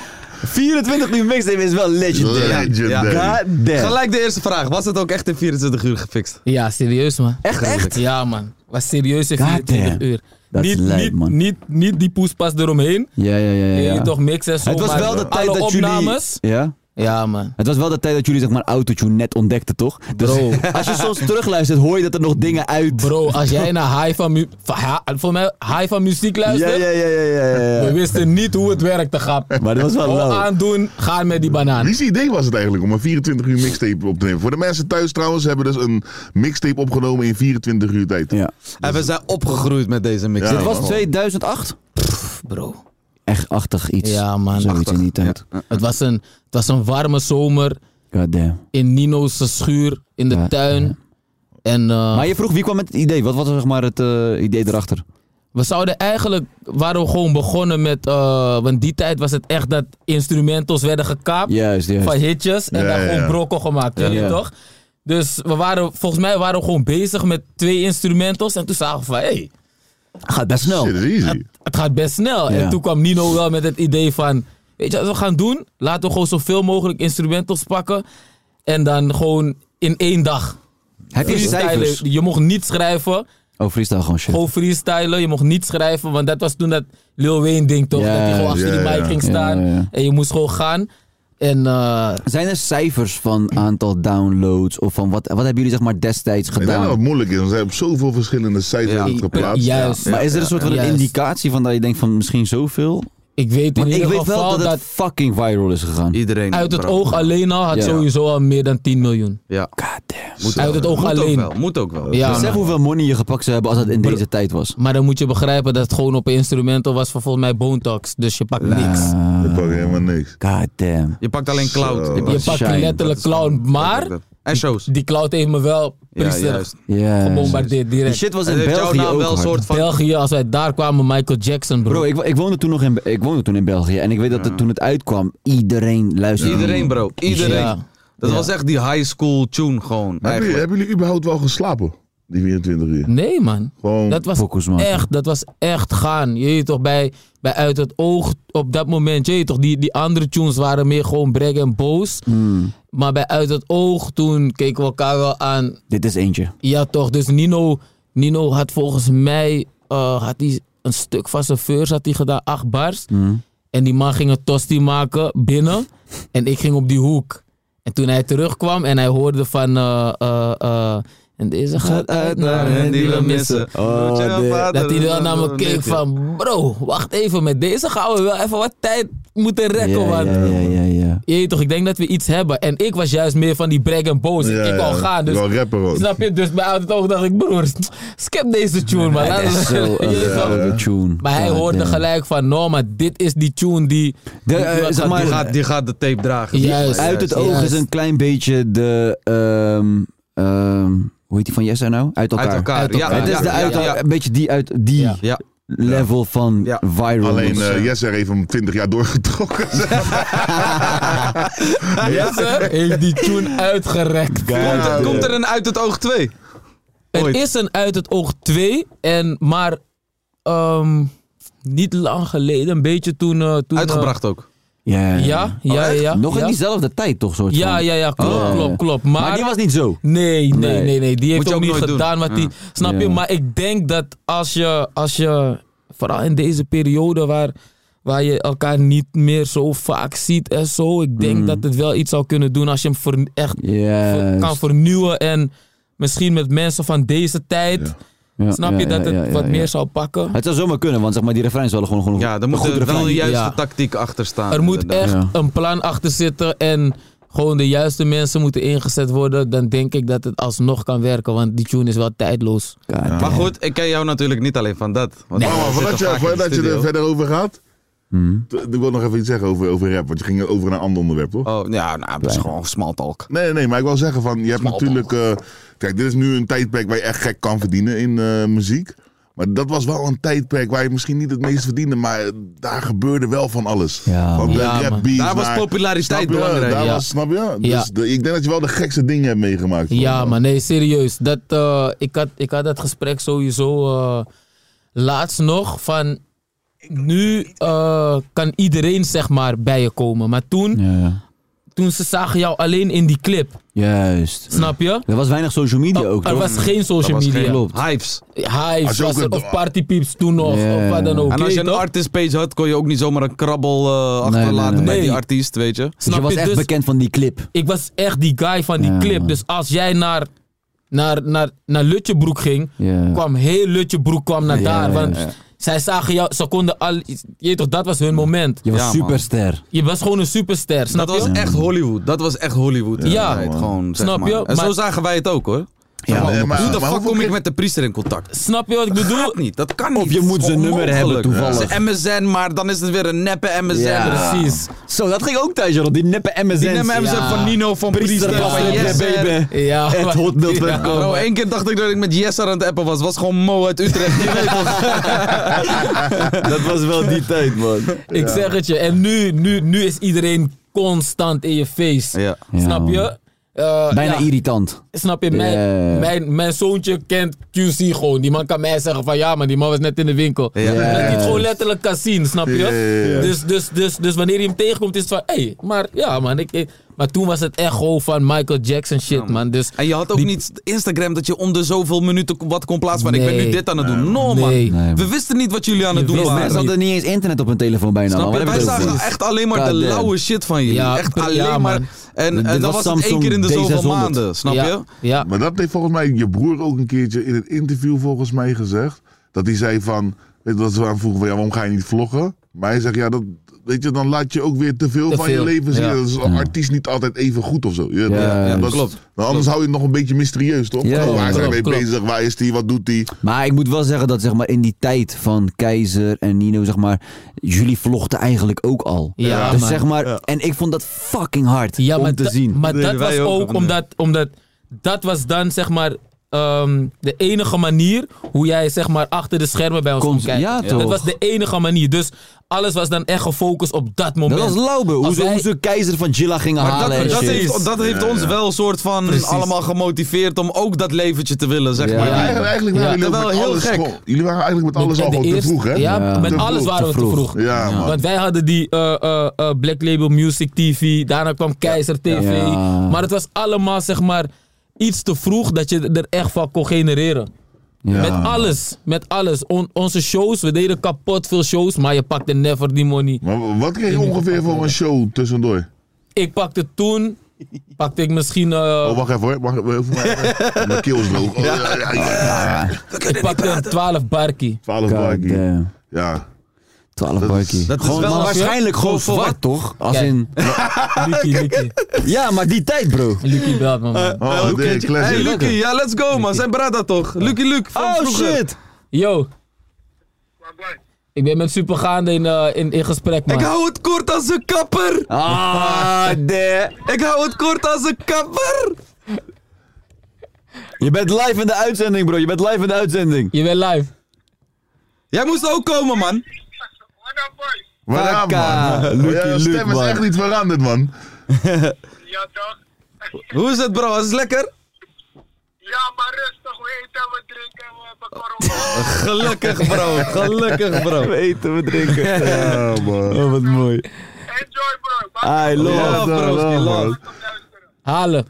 24 uur mixtape is wel legendary.
Legendary.
God damn.
Gelijk de eerste vraag. Was het ook echt in 24 uur gefixt?
Ja, serieus man.
Echt, echt?
Ja man, was serieus in
God
24
damn.
uur.
Dat is
niet,
lijp,
niet,
man.
Niet, niet die poespas eromheen.
Ja, ja, ja. ja,
Je
ja.
weet toch mixen en zo.
Het was
maar
wel de tijd
alle
dat
opnames.
jullie... Ja?
Ja man.
Het was wel de tijd dat jullie zeg maar autotune net ontdekten, toch? Dus
Bro.
<laughs> als je soms terugluistert, hoor je dat er nog dingen uit...
Bro, als jij naar high van, mu- van, ha- voor mij, high van muziek
Ja,
luistert,
ja, ja, ja, ja, ja,
we
ja.
wisten niet hoe het werkte, grap.
Maar dat was wel
Gewoon
lauw.
aandoen, gaan met die banaan.
Wie idee was het eigenlijk om een 24 uur mixtape op te nemen? Voor de mensen thuis trouwens hebben dus een mixtape opgenomen in 24 uur tijd.
Ja.
En we zijn opgegroeid met deze mix.
Ja,
Dit was
man.
2008?
Bro,
Echt achtig iets.
Ja, man.
Zoiets in die tijd.
het was, een, het was een warme zomer
God damn.
in Nino's schuur, in de
Ja,
tuin. En eh,
Maar je vroeg, wie kwam met het idee? Wat was zeg maar het eh, idee erachter?
we zouden eigenlijk, waren we gewoon begonnen met, eh, want die tijd was het echt dat instrumentals werden gekaapt.
Juist, juist.
van hitjes en
Ja,
dan
ja,
gewoon
ja.
brokken gemaakt, weet je
Ja.
toch? Dus we waren, volgens mij waren we gewoon bezig met twee instrumentals en toen zagen we van, hey,
Gaat best snel.
Shit, dat is easy.
het gaat best snel.
Ja.
En toen kwam Nino wel met het idee van, weet je wat we gaan doen? Laten we gewoon zoveel mogelijk instrumentals pakken en dan gewoon in één dag.
Heb je cijfers?
Freestylen, je mocht niet schrijven,
Oh, freestyle gewoon shit.
gewoon freestylen, je mocht niet schrijven, want dat was toen dat Lil Wayne ding toch,
Ja,
dat hij gewoon achter
ja,
die mic
ja.
ging
Ja,
staan
ja, ja.
en je moest gewoon gaan. En eh,
Zijn er cijfers van aantal downloads of van wat, wat hebben jullie zeg maar destijds
Ik denk dat het
gedaan?
moeilijk is, want ze hebben op zoveel verschillende sites
Ja.
hebben het geplaatst.
juist.
Maar is er een soort van een
Juist.
indicatie van dat je denkt van misschien zoveel?
Ik weet in
Want ik
ieder
weet wel
geval
dat
dat,
het fucking viral is gegaan.
Iedereen.
uit het
bro.
oog alleen al had
Ja.
sowieso al meer dan 10 miljoen.
Ja.
Moet
Uit het oog
Moet ook
alleen.
wel. Moet ook wel. Dus
Ja,
Besef
man.
hoeveel money je gepakt zou hebben als dat in deze tijd was.
Maar dan moet je begrijpen dat het gewoon op een instrumental was van volgens mij Bone Talks. Dus je pakt niks.
Ik pak helemaal niks.
Ah, God damn.
Je pakt alleen cloud.
Zo.
Je
Je
pakt-
pakt
shine,
letterlijk clown. Maar
En shows.
die cloud heeft me wel
Ja,
priester
juist.
Ja.
gebombardeerd
Die
direct.
shit was in
Het heeft jouw
België
naam
ook
wel een
hard.
soort van...
België, als wij daar kwamen, Michael Jackson, bro.
Bro, ik, wo- ik woonde toen nog in, Be- ik woonde toen in België en ik weet dat het, toen het uitkwam, iedereen luisterde.
Iedereen, bro. Iedereen.
Ja.
Dat was echt die high school tune gewoon.
Hebben jullie,
eigenlijk.
hebben jullie überhaupt wel geslapen? Die 24 uur.
Nee, man.
Gewoon,
Dat was
Focus, man.
echt, dat was echt gaan. Je weet toch, bij, bij Uit het Oog op dat moment, je weet toch, die, die andere tunes waren meer gewoon brag en boos.
Hmm.
Maar bij Uit het Oog, toen keken we elkaar wel aan.
Dit is eentje.
Ja toch, dus Nino, Nino had volgens mij, eh, had hij een stuk van zijn verse had hij gedaan, acht bars.
Mm.
En die man ging een tosti maken
<laughs>
binnen en ik ging op die hoek. En toen hij terugkwam en hij hoorde van, eh, eh, eh, En deze gaat uit naar hen die we missen.
Oh,
Doet je wel
dit-
vader,
Dat hij dan naar me
eh,
keek
nietje.
van, bro, wacht even, met deze gaan we wel even wat tijd moeten rekken,
Ja,
want...
ja, ja, ja, ja.
Je weet toch, ik denk dat we iets hebben. En ik was juist meer van die brag en boos.
Ja,
ik wou
ja,
gaan,
je
dus...
wou rappen hoor.
Snap je? Dus bij altijd ook dacht ik, broer, skip deze tune, man.
Het is
<laughs> Je
zo eh. een
weet toch?
gouden tune.
Maar hij
God
hoorde
damn.
gelijk van, no, maar dit is die tune die...
De,
die
eh, zeg
wat gaat
maar,
Die
doen.
gaat, die gaat de tape dragen.
Juist.
Uit het oog is
Juist.
een klein beetje de... ehm, ehm, hoe heet die van Yes en nou? Uit elkaar.
Uit elkaar.
Uit elkaar.
Ja,
Het is
ja,
de
ja,
uit,
ja.
een beetje die uit die
Ja.
Ja.
level van
Ja.
viral.
Alleen eh Jesse heeft hem 20 jaar
<laughs>
doorgetrokken. <laughs>
Jesse heeft die tune uitgerekt.
Komt, er, komt er een uit het oog 2?
Het
Ooit.
is een Uit het Oog 2, en, maar ehm, niet lang geleden, een beetje toen... eh, toen eh,
Uitgebracht ook.
ja.
ja, ja, ja.
Nog in
ja.
diezelfde tijd toch? Soort
Ja,
van.
ja, ja, klopt,
Oh.
klopt, klopt. Maar,
Maar, die was niet zo.
Nee, nee,
Nee.
nee, nee. Die
Moet
heeft
je
ook
ook
niet
nooit doen.
gedaan wat die. Snap je?
Ja.
Maar ik denk dat als je, als je vooral in deze periode waar, waar je elkaar niet meer zo vaak ziet en zo, ik denk
Mm.
dat het wel iets zou kunnen doen als je hem ver- echt ver-
Yes.
kan vernieuwen en misschien met mensen van deze tijd.
Ja,
Snap
ja,
je dat
ja,
het
ja, ja,
wat
ja.
meer zou pakken?
Het zou zomaar kunnen, want zeg maar, die refreins hadden gewoon, gewoon
Ja, daar
een
moet
goed
er wel
refrein.
een juiste
ja.
tactiek achter staan.
Er moet
inderdaad.
echt
Ja.
een plan achter zitten en gewoon de juiste mensen moeten ingezet worden. Dan denk ik dat het alsnog kan werken, want die tune is wel tijdloos.
God.
Maar goed, ik ken jou natuurlijk niet alleen van dat. Want
Maar,
we
maar
zitten vaak in
voordat je,
de
voordat je er
studio.
verder over gaat,
Hmm.
t- ik wil nog even iets zeggen over, over rap. Want je ging over naar een ander onderwerp, toch?
Oh, ja, nou, dat is gewoon smaltalk.
Nee, nee, maar ik wil zeggen van, je hebt natuurlijk... eh, kijk, dit is nu een tijdperk waar je echt gek kan verdienen in eh, muziek. Maar dat was wel een tijdperk waar je misschien niet het meest verdiende, maar eh, daar gebeurde wel van alles.
Ja,
van
man.
de
Ja,
rap
man.
beats
Daar was
naar-
populariteit
snap je?
belangrijk,
Daar
ja.
was, snap je? Dus
Ja.
de- ik denk dat je wel de gekste dingen hebt meegemaakt.
Ja,
man.
maar nee, serieus. Dat, eh, ik, had, ik had dat gesprek sowieso eh, laatst nog van. Nu eh, kan iedereen zeg maar bij je komen. Maar toen,
Ja, ja.
toen ze zagen jou alleen in die clip,
Juist.
snap je?
Er was weinig social media ook,
er
toch?
was geen
Dat
social
was geen
media.
klopt. Hypes.
Als
Hives
je
was
ook
er,
een-
of partypieps toen nog,
Ja.
of wat dan ook.
En als
weet
je een
toch?
artist page had, kon je ook niet zomaar een krabbel eh,
nee,
achterlaten
nee.
bij die
Nee.
artiest, weet je.
Dus
snap
je was
je?
echt
Dus-
bekend van die clip.
ik was echt die guy van die
Ja,
clip.
man.
Dus als jij naar, naar, naar, naar Lutjebroek ging,
Ja.
kwam heel Lutjebroek kwam naar
Ja,
daar.
ja,
Want
ja.
zij zagen jou, ze konden al... Je, weet toch, dat was hun moment.
Je was
Ja, man.
superster.
Je was gewoon een superster, snap
Hmm. Dat was
je?
echt Hollywood. Dat was echt Hollywood. in
Ja,
die tijd,
man.
gewoon, zeg
Snap je?
maar. En zo
Maar-
zagen wij het ook, hoor.
Ja,
Nee, maar-
Hoe de
maar
fuck
hoeveel
kom ik
keer-
met de priester in contact?
Snap je wat ik bedoel?
Dat niet, dat kan niet.
Of je moet zijn nummer hebben,
Onmogelijk.
toevallig.
Zijn MSN, maar dan is het weer een neppe MSN.
Ja.
Precies.
Zo, dat ging ook thuis, rond Die neppe MSN's.
Die neppe MSN
Ja.
van Nino, van Priester,
Priester,
van
Pastor,
Jesser.
baby.
Ja,
<laughs>
Het
maar-
hotmail.com.
Ja.
Bro, één keer dacht ik dat ik met Jesser aan het appen was. Was gewoon Mo uit Utrecht. <laughs> Je weet toch?
Dat was wel die tijd, man.
Ik zeg het je. En nu, nu, nu is iedereen constant in je face.
Ja.
Snap je? Eh,
Bijna
ja.
irritant.
Snap je? Mijn,
Ja.
mijn, mijn zoontje kent QC gewoon. Die man kan mij zeggen van ja, maar die man was net in de winkel.
Ja.
Dat hij het gewoon letterlijk kan zien, snap je?
Ja, ja, ja.
Dus, dus, dus, dus wanneer hij hem tegenkomt is het van hé, hey, maar ja man. Ik, ik- maar toen was het echt gewoon van Michael Jackson shit man. Dus,
En je had ook
Die-
niet Instagram dat je om de zoveel minuten wat kon plaatsen. van Ik ben nu
Nee.
dit aan het doen. No, man.
Nee.
Nee, man.
We wisten niet wat jullie aan het
Je
doen
wist
waren.
Mensen hadden niet eens internet op hun telefoon bijna.
Snap
man.
je?
Waar
Wij
hebben we het
zagen
over?
echt alleen maar de
Goddamn.
lauwe shit van jullie.
Ja,
echt
ja,
alleen
man.
maar. En,
Dit
en dat
was
was het één
Samsung
keer in de zoveel
D600.
maanden. Snap
ja,
je?
Ja.
Maar dat heeft volgens mij je broer ook een keertje in het interview volgens mij gezegd. Dat hij zei van, weet je, dat ze aan vroegen van, ja, waarom ga je niet vloggen? Maar hij zegt, ja, dat, weet je, dan laat je ook weer te veel
Te
van je
veel,
leven zien.
ja.
Dat is een artiest niet altijd even goed of zo. Je-
ja,
dat-
dat klopt.
Nou, anders hou je het nog een beetje mysterieus, toch?
Ja,
Oh,
ja,
waar zijn
klopt,
wij
klopt.
bezig? Waar is die? Wat doet die?
Maar ik moet wel zeggen dat zeg maar, in die tijd van Keizer en Nino, zeg maar, jullie vlogden eigenlijk ook al.
Ja,
dus
man.
zeg maar, en ik vond dat fucking hard
Ja,
om
maar,
te
da-
zien.
maar
Nee,
dat
wij
was
ook,
ook
man.
omdat, omdat dat was dan zeg maar ehm, de enige manier hoe jij zeg maar achter de schermen bij ons
Kon-
kon kijken.
ja, toch?
Dat was de enige manier. Dus alles was dan echt gefocust op dat moment.
dat was Laube, hoe,
Als
ze,
wij-
hoe ze Keizer van Gilla gingen
Maar
halen
dat,
en
dat
shit.
heeft, dat heeft ons wel een soort van
Precies.
allemaal gemotiveerd om ook dat leventje te willen, zeg maar.
Ja.
Eigenlijk, eigenlijk waren
Ja,
jullie ook
wel
met
heel
alles
gek.
gewoon- Jullie waren eigenlijk met
Met-
alles
en
al
de
gewoon te
eerst-
vroeg, hè?
Ja,
Ja.
met
Te
alles
vroeg,
waren we
te
te
vroeg.
vroeg.
Ja, man.
Want wij hadden die eh, eh, eh, Black Label Music TV, daarna kwam Keizer TV.
Ja.
Maar het was allemaal zeg maar iets te vroeg dat je er echt van kon genereren. Met
Ah.
alles, met alles. On- onze shows, we deden kapot veel shows, maar je pakte never die money.
Maar wat kreeg je ongeveer voor een show tussendoor?
Ik pakte toen pakte ik misschien... eh,
<laughs>
Oh, wacht even hoor. Wacht even, even, even. Mijn keel is loog. Oh, ja, ja, ja.
ik pakte een 12
<laughs>
barkie.
12 barkie. Ja.
12 barkie.
Dat is
Gewoon,
wel
maar
als je-
waarschijnlijk gewoon
voor- voor
zwart,
wat?
toch? Als
Kijk. <laughs>
in...
Lucky, Lucky.
Ja, maar die tijd, bro.
Lucky belt me, man.
Oh, de
Eh, Hey,
classic.
Lucky, ja, let's go, man. Zijn brada toch? Lucky Luke. van
Oh,
vroeger.
shit.
Yo, ik ben met Supergaande in, eh, in, in gesprek, man.
Ik hou het kort als een kapper.
Ah, de.
Ik hou het kort als een kapper.
Je bent live in de uitzending, bro. Je bent live in de uitzending.
Je bent live.
Jij moest ook komen, man.
Waaraan,
Taka,
man?
Lucky
Jouw
Luke,
stem is
man.
echt niet veranderd, man.
Ja, toch?
Hoe is het, bro? Is het lekker?
Ja, maar rustig, we eten, we drinken, we hebben corona.
Gelukkig,
<laughs>
bro. Gelukkig, bro.
eten, we drinken.
Ja, man.
Oh, wat mooi.
Enjoy, bro.
I love.
Ja,
dat
bro.
wel,
die
man.
love.
Halen.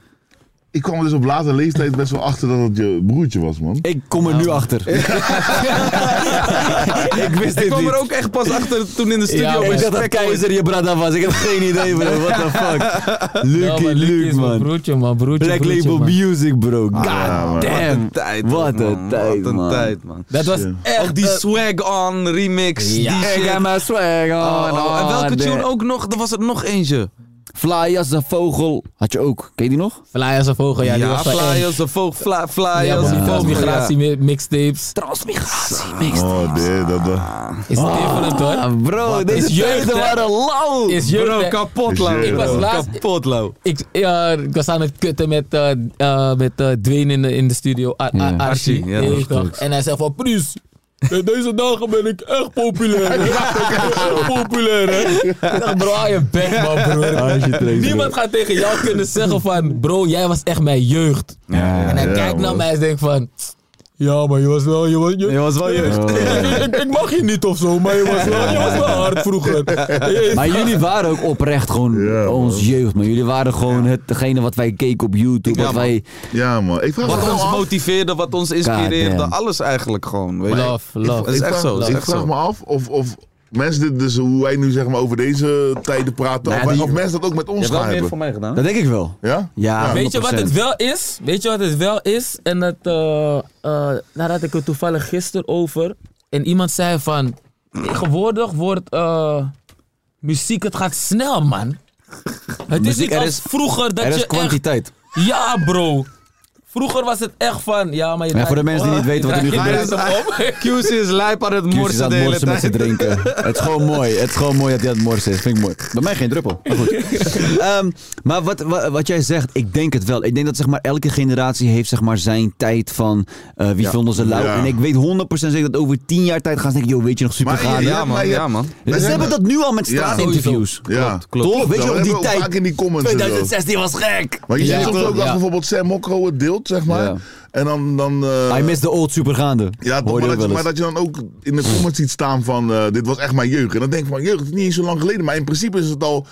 Ik kwam er dus op late leeftijd best wel achter dat het je broertje was, man.
Ik kom er nu
Nou.
achter.
<laughs>
ik wist
Ik
dit
kwam
niet.
er ook echt pas achter toen in de studio
Ja,
bij
man.
Ik
Spek
dacht dat
was.
Keizer je brada was. Ik heb
<laughs>
geen idee, bro. What the fuck.
Ja,
Lucky
Oh, maar
Luke,
is mijn
man.
broertje, man. Broertje,
Black
broertje,
Label
man.
Music, bro. God
Ja, man.
Ah, Wat
damn.
een tijd,
Wat
man.
een tijd,
Wat een
man.
tijd, man.
Dat was
Echt die swag on remix. Die shit.
Ik heb mijn swag on.
Oh, nou, en welke
de-
tune ook nog? Er was er nog eentje.
Fly als een vogel. Had je ook. Ken je die nog?
Fly als een vogel, ja. die was van
fly
N.
als een vogel, fly, fly
Ja,
als
man,
een vogel.
transmigratie, mi- mixtapes.
Transmigratie, mix.
Oh, dit, dat, dat.
Is different, hoor.
Ah, bro, deze
is jeugd,
jeugden
hè?
waren lauw.
Is
Ja.
jeugd,
Bro,
hè.
kapot,
Dus
lauw.
je- Ik was
bro.
laatst-
Kapot, lauw.
ik, ja, ik was aan het kutten met, eh eh, met eh, Dwayne in de, in de studio. Ar Ar-
Ja.
Archie.
Archie, ja,
Nee,
dat
toch? En hij zei van, Prins, in deze dagen ben ik echt
<laughs>
populair. hè." echt populair, hè. Ik dacht, bro, hou je bek, man,
<laughs>
broer. Niemand gaat tegen jou kunnen zeggen van, bro, jij was echt mijn jeugd. en hij
ja,
kijkt naar
man.
mij en denkt van... Ja, maar je was wel... Je was, je,
Je was wel jeugd.
ik, <laughs> ik- ik mag je niet of zo, maar je was wel, je was wel hard vroeger.
<laughs>
Je-
<laughs> Maar jullie waren ook oprecht gewoon
Ja,
ons
man.
jeugd, man. Jullie waren gewoon hetgene wat wij keken op YouTube.
Ja,
wat
man.
wij...
Ja, man. Ik vraag me
Wat
wel
ons
af-
motiveerde, wat ons inspireerde.
Goddamn.
Alles eigenlijk gewoon. Weet je?
Love, love.
Het is
Ik
echt
vraag-
zo. het is
Ik
echt
vraag
zo.
me af of, of mensen dit, dus hoe wij nu zeg maar over deze tijden praten,
Nou
of,
ja,
wij-
die-
of mensen dat ook met ons gaan hebben.
mij gedaan.
Dat denk ik wel.
Ja?
Ja,
Weet je wat het
100%.
wel is? Weet je wat het wel is? En dat, eh, eh, daar had ik het toevallig gisteren over. En iemand zei van, tegenwoordig wordt eh, muziek, het gaat snel man. Het is
Muziek,
niet
er
als
is-
vroeger dat
Er
je
is kwantiteit.
echt... Ja bro. Vroeger was het echt van, ja maar je
Ja, voor de
draait-
mensen die niet
oh,
weten wat er
je
nu
draait
gebeurt.
je <laughs>
<laughs>
brengt hem om.
QC is lijp aan het
Kies is
morsen
aan
de
het
hele
morsen met
tijd.
zijn drinken. het is gewoon mooi. Het is gewoon mooi dat hij aan het morsen is. Vind ik mooi. Bij mij geen druppel. Maar
<laughs>
goed. Ehm, maar wat, wat, wat jij zegt, ik denk het wel. Ik denk dat zeg maar, elke generatie heeft zeg maar, zijn tijd van eh, wie vonden ze lauw.
Ja.
En ik weet 100% zeker dat over 10 jaar tijd gaan ze denken, joh, weet je nog super
Maar
gaan.
je-
Ja, man.
maar je-
Ja, man.
Ze hebben dat nu al met straatinterviews.
Ja.
Klopt.
Toch? Weet je
Ja,
nog
Nou, we
die
hebben ook
tijd?
Vaak in die comments en zo.
2016 was gek.
Maar je
Ja,
ziet soms
klopt,
ook als
ja.
bijvoorbeeld Sam Mokro het deelt, zeg maar.
Ja.
En dan... dan eh,
I missed the old supergaande.
ja,
Hoor je
maar
ook
dat, je,
wel
maar
eens.
dat je dan ook in de comments ziet staan van... eh, dit was echt mijn jeugd. En dan denk ik van, jeugd, het is niet eens zo lang geleden. Maar in principe is het al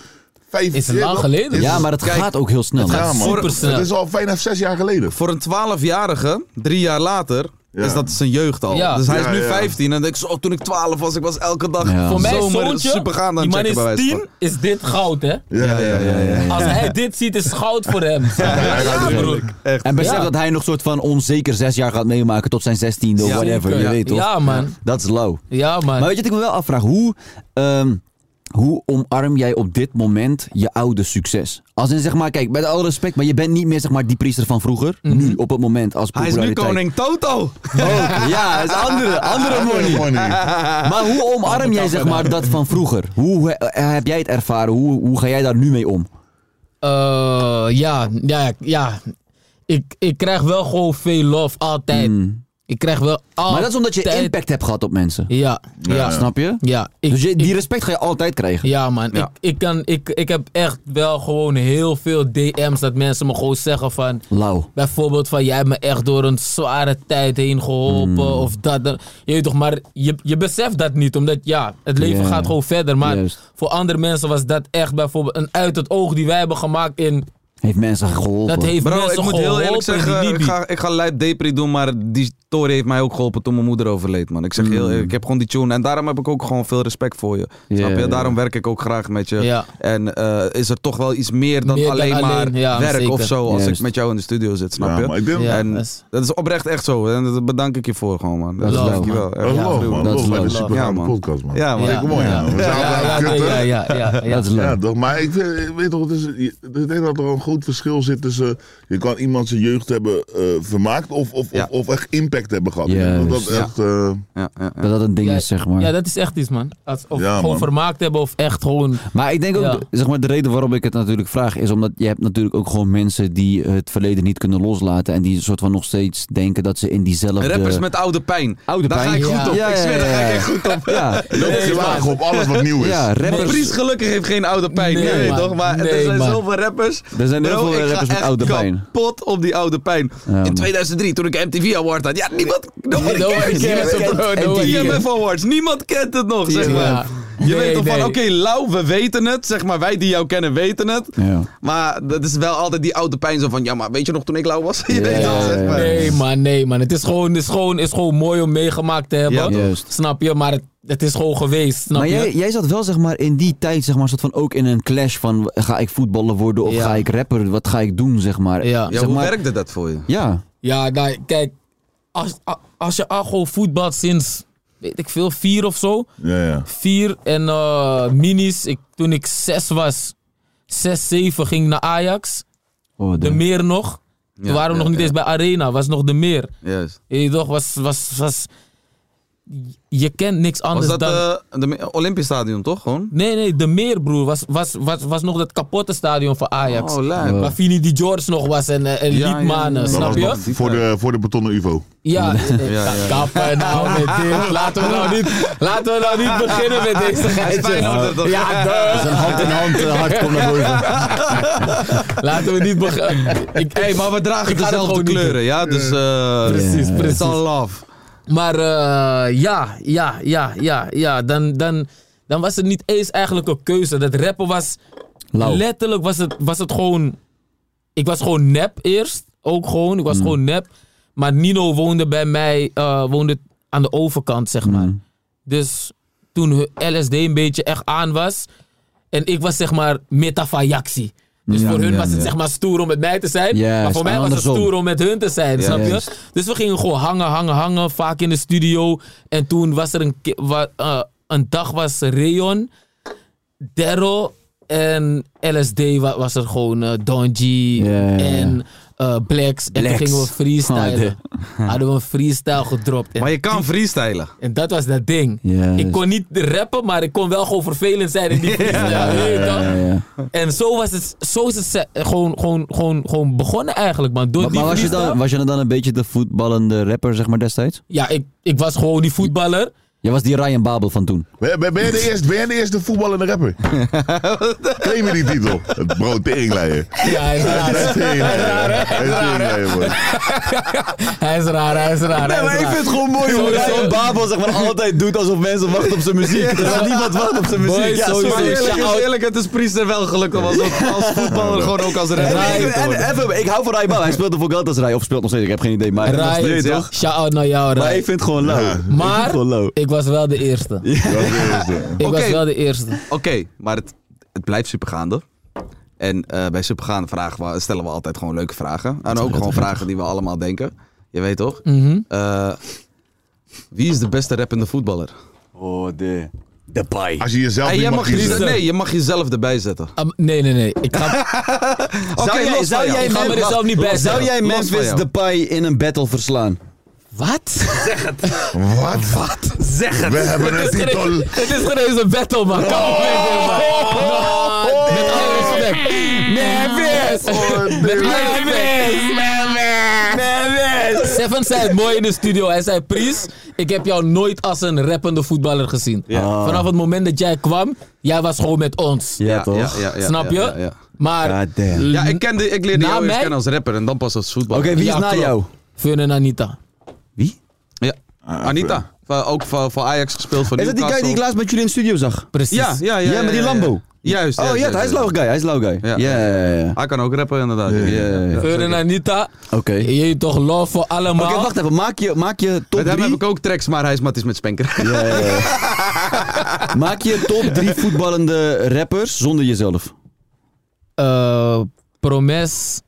vijf...
Is het lang
ja,
geleden?
is-
Ja, maar dat
Kijk,
gaat ook heel snel.
ja, man.
supersnel.
Het is al vijf, zes jaar geleden.
Voor een 12-jarige, drie jaar later,
Ja.
is dat zijn jeugd al.
Ja.
Dus hij is
Ja,
nu
ja.
15 en dan denk ik, zo, oh, toen ik 12 was, ik was elke dag
Ja.
Voor mij
zomer
zoontje,
supergaande aan
die man
het checken, bij
is
wijze van.
10, is dit goud hè.
Ja, ja, ja. ja, ja.
Als hij dit ziet is het goud voor hem. Ja, broer.
En besef
Ja.
dat hij nog soort van onzeker zes jaar gaat meemaken tot zijn zestiende of
Ja,
whatever.
zeker.
Je weet toch?
Ja man,
Dat is low.
ja man.
Maar weet je wat ik me wel afvraag? Hoe, ehm, hoe omarm jij op dit moment je oude succes? Als in zeg maar, kijk, met alle respect, maar je bent niet meer zeg maar die priester van vroeger. Nu, op het moment, als
Hij is nu
populariteit.
koning Toto.
Ook, ja, dat is andere, andere money. Maar hoe omarm jij zeg maar dat van vroeger? Hoe he- heb jij het ervaren? Hoe, hoe ga jij daar nu mee om?
Eh, ja, ja, ja. Ik, ik krijg wel gewoon veel love, altijd. Ik krijg wel altijd.
Maar dat is omdat je impact hebt gehad op mensen.
Ja, ja, ja.
Snap je?
ik,
Dus je, die
ik-
respect ga je altijd krijgen.
ja man,
Ja.
Ik, ik, kan, ik, ik heb echt wel gewoon heel veel DM's dat mensen me gewoon zeggen van...
Lauw.
Bijvoorbeeld van, jij hebt me echt door een zware tijd heen geholpen of dat. dat. Je weet toch, maar je, je beseft dat niet. Omdat ja, het leven
Ja.
gaat gewoon verder. Maar
Juist.
voor andere mensen was dat echt bijvoorbeeld een uit het oog die wij hebben gemaakt in
Heeft mensen geholpen.
Dat heeft
Bro,
mensen
ik moet heel
geholpen,
eerlijk
die
zeggen, ik
Libi.
ga, ik ga lijp depri doen, maar die story heeft mij ook geholpen toen mijn moeder overleed, man. Ik zeg je heel eerlijk, ik heb gewoon die tune en daarom heb ik ook gewoon veel respect voor je.
Ja,
snap je?
ja.
Daarom werk ik ook graag met je.
Ja.
En eh, is er toch wel iets meer dan
Meer dan
alleen maar
alleen, ja,
werk
zeker.
of zo als
Juist.
ik met jou in de studio zit, snap
Ja,
je?
maar ik denk...
Ja,
en-
dat is-
Dat is oprecht echt zo en dat bedank ik je voor gewoon, man.
Dat is
Love,
dank je wel.
Dat is
Echt
love,
gruwelijk.
man.
dat
Dat
is
is
love.
een super
Ja,
gaaf
man.
podcast, man.
Ja, man.
Ik mooi, ja. We
Ja,
zaten
ja,
aan het
ja, ja,
kutten.
ja, ja,
<laughs>
ja.
Dat is leuk.
Ja, toch, maar ik, vind- weet toch, het is, je- ik denk dat er een groot verschil zit tussen... Je kan iemand zijn jeugd hebben eh, vermaakt of, of,
Ja.
of, of echt impact hebben gehad.
Juist.
Dat dat
Ja.
echt... eh,
Ja, ja, ja.
Dat dat een ding
Ja,
is, zeg maar.
Ja, dat is echt iets, man. Als- Of
Ja,
gewoon
man.
vermaakt hebben of echt gewoon...
Maar ik denk ook,
Ja.
zeg maar, de reden waarom ik het natuurlijk vraag is omdat je hebt natuurlijk ook gewoon mensen die het verleden niet kunnen loslaten en die een soort van nog steeds denken dat ze in diezelfde...
Rappers met oude pijn.
oude
Daar ga ik
eh, Ja.
goed op. Ik zweer, daar ga ik echt goed
op.
<laughs>
Ja,
Loop
Nee,
klagen op alles wat nieuw is.
ja
Nee,
rappers.
Pries gelukkig heeft geen oude pijn.
Nee,
Nee,
man.
toch? Maar
Nee,
er zijn
man.
zoveel rappers.
Er zijn heel
Bro,
veel
ik ga
rappers met
echt
oude pijn.
kapot op die oude pijn.
man.
In 2003, toen ik MTV Award had. Ja, niemand... Nobody
No one
cares.
cares,
Niemand
bro,
kent
no one
TMF
cares.
Awards. Niemand kent het nog, zeg
Ja.
maar. Je
Nee,
weet toch van,
nee.
oké, Lau, we weten het. Zeg maar, wij die jou kennen, weten het.
Ja.
Maar dat is wel altijd die oude pijn zo van... Ja, maar weet je nog toen ik Lau was? <laughs> Je weet wel, zeg maar.
Nee, man, nee, man. Het is gewoon, is gewoon, is gewoon mooi om meegemaakt te hebben.
Ja,
toch? Juist.
Snap je? Maar het, het is gewoon geweest, snap
Maar
je?
jij, jij zat wel zeg maar in die tijd zeg maar soort van ook in een clash van ga ik voetballer worden of
Ja.
ga ik rapper? Wat ga ik doen zeg maar?
Ja.
Ja,
zeg
hoe
maar,
werkte dat voor je?
Ja.
Ja, nou, kijk. Als, a- als je al gewoon voetbalt sinds, weet ik veel, vier of zo.
Ja, ja.
Vier en eh, minis. Ik, toen ik zes was, zes, zeven, ging ik naar Ajax.
Oh,
De
damn.
Meer nog. Toen waren we
ja,
nog niet
ja.
eens bij Arena, was nog De Meer.
Juist.
Je weet toch, was, was, was... Je kent niks
Was
anders
dat
dan...
eh, de Olympisch Stadion, toch? Gewoon?
Nee, nee, De Meer, broer. Was, was, was, was nog dat kapotte stadion van Ajax.
Oh, lijp.
Waar Vini Di George nog was en, eh, en
Ja, ja,
Liedmanen,
ja.
Dat
snap
was
je?
nog voor de, voor de betonnen UVO.
<laughs>
Ja,
ja, ja.
<laughs>
kappen nou met dit. Laten we nou niet, laten we nou niet beginnen met deze geitje.
nou
Feyenoorder, toch?
Ja, duh.
Hand in hand, eh, hard komt naar boven.
<laughs> Laten we niet beginnen. Ik,
Hey, maar we dragen
Ik ga dat
dezelfde
gewoon niet
kleuren, ja? Dus eh
Precies,
it's
precies.
all love.
Maar eh, ja, ja, ja, ja, ja. Dan, dan, dan was het niet eens eigenlijk een keuze. Dat rappen was...
Lauw.
Letterlijk was het, was het gewoon... Ik was gewoon nep eerst. Ook gewoon.
Mm.
Ik was gewoon nep. Maar Nino woonde bij mij... eh, woonde aan de overkant, zeg maar.
Mm.
Dus toen hun LSD een beetje echt aan was... En ik was zeg maar metafayaxi. Dus
Ja,
voor hun
ja,
was het
ja.
zeg maar stoer om met mij te zijn.
Juist,
maar voor mij
en
was het
andersom.
stoer om met hun te zijn, snap je?
Juist.
Dus we gingen gewoon hangen, hangen, hangen, vaak in de studio. En toen was er een, ki- wa- eh, een dag was Rayon, Daryl en LSD wa- was er gewoon eh, Don G
ja, ja. Oh,
en eh, Blacks. En toen
Blacks.
gingen we freestylen. Hadden we een freestyle gedropt. En,
Maar je kan freestylen.
en dat was dat ding.
Juist.
Ik kon niet rappen, maar ik kon wel gewoon vervelend
<laughs>
zijn in die freestyle. weet je toch?
Ja, ja.
En zo, was het, zo is het se- gewoon, gewoon, gewoon, gewoon begonnen eigenlijk, man. Door
Maar,
die
maar was, je
freestyle-
dan, was je dan een beetje de voetballende rapper zeg maar destijds?
Ja, ik, ik was gewoon die voetballer.
Jij was die Ryan Babel van toen.
Ben, ben, ben, je de eerste, ben jij de eerste voetballende
<laughs>
rapper? Claim je die titel? Het Bro, teringleier.
Ja, hij is
<laughs>
Hij is
raar.
teringleier. Hij is teringleier, man.
Hij is raar, hij is raar. hij is raar.
gewoon mooi
hoe Ryan
Babel zeg maar altijd doet alsof mensen wachten op zijn muziek. Terwijl niemand wacht op zijn
muziek. Ja,
zo
sowieso.
Maar eerlijk, is
shout-out.
eerlijk, het is Priester wel gelukt. om Als, als voetballer, gewoon ook als
En,
rapper.
en- en- even, ik hou van Ryan Babel. Hij speelde voor Galatasaray of speelt nog steeds. Ik heb geen idee. Maar hij nog
Rai,
steeds,
ja,
toch?
shout-out naar jou,
Maar
Rai.
ik vind het gewoon lauw. Ik vind het
Maar
gewoon lauw.
ik was wel de eerste.
Dat is de eerste.
Ik was
Oké.
wel de eerste.
Oké, maar het, het blijft supergaande. En eh, bij supergaande vragen we- stellen we altijd gewoon leuke vragen. En ook gewoon vragen die we allemaal denken. Je weet toch?
Mhm.
Eh, wie is de beste rappende voetballer?
Oh, de.
Als je jezelf
Hey,
niet
jij
mag
mag je-
kiezen.
nee, je mag jezelf erbij zetten.
Ah, nee, nee, nee. Ik ga,
Oké,
jij-
los van
zou
jou.
jij
Ik ga
me er
wacht,
zelf niet bij
los van
zetten.
Zou
jou.
jij
Los van
Memphis
jou.
Depay in een battle verslaan?
wat?
Wat? Wat? Zeg het. We
<laughs>
hebben een titel.
<laughs> Het is geen eens een battle, man. Kom op, Memphis, man. No, Met alle respect. Memphis! Met alle respect. Memphis! Seven zei het mooi in de studio. Hij zei, Pries, ik heb jou nooit als een rappende voetballer gezien. Vanaf het moment dat jij kwam, jij was gewoon met ons.
Ja, toch?
ja, ja,
Snap je?
ja, ja,
Mhm.
ja.
Maar...
God damn.
Ja, ik, kende, ik leerde
Na
jou eerst
mij?
kennen als rapper en dan pas als
Oké,
voetballer.
wie is
Ja,
na
klopt.
jou?
Fun en Anita.
Wie?
Ja. Anita, van- ook voor, voor Ajax gespeeld voor
Is dat die guy die ik laatst met jullie in de studio zag?
Precies.
Ja, ja, ja.
Ja, met die
ja, ja.
Lambo.
Juist.
Oh ja, hij is low guy. Hij is low guy. Ja, ja, ja.
Hij kan ook rappen, inderdaad.
Ja, ja, ja.
Verder naar Nita.
Oké. Oké,
Je toch love voor allemaal.
wacht even. Maak je, maak je top
Met hem heb
3.
ik ook tracks, maar hij is matties met Spenker.
Ja, ja, ja. maak je top 3 voetballende rappers zonder jezelf.
Eh, Promes.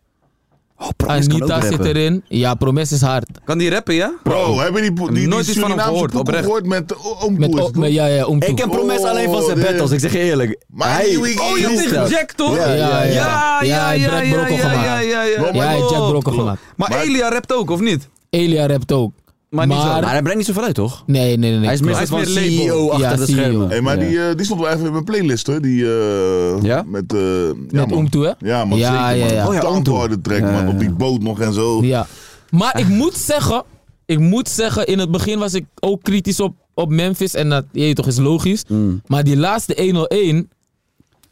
Oh, Promes kan ook
Anita zit
rappen.
erin. Ja, Promes is hard.
<laughs> Kan die rappen, ja?
Oh,
Bro, hebben die, po- die, die
Nooit iets van hem
Surinaamse
gehoord,
pokoe
oprecht.
gehoord met de o- Oom
Met,
Koos,
op,
toch?
met, ja, ja, om
Ik ken Promes alleen van zijn
Oh,
battles, ik zeg je eerlijk.
Maar
Hij-
die week-
Oh, je hebt tegen
freestyle.
Jack, toch?
Ja, ja,
ja,
ja.
ja,
Ja,
ja,
Jack
ja,
Brokkel
ja,
gemaakt.
ja, ja, ja.
Bro,
Ja,
maar-
Jack
Klopt,
Brokkel
klopt.
gemaakt.
Maar Elia rapt ook, of niet?
Elia rapt ook.
Maar niet zo.
Maar hij brengt niet zoveel uit, toch?
Nee, nee, nee. nee.
Hij is
Hij
meer
is
van
meer label.
CEO achter
Ja, E
de
CEO.
schermen.
Hey, maar
Ja.
die, eh, die stond wel even in mijn playlist hoor. Die, eh,
Ja?
Met, eh ja,
Met
man.
Omtoe, hè?
Ja, man.
Ja,
zeker,
ja,
man.
ja.
Oh ja,
Tanto
Omtoe.
harde track, man. Op die boot nog en zo.
Ja. Maar ik moet zeggen, ik moet zeggen, in het begin was ik ook kritisch op, op Memphis. En dat je, toch is logisch. Maar die laatste 101,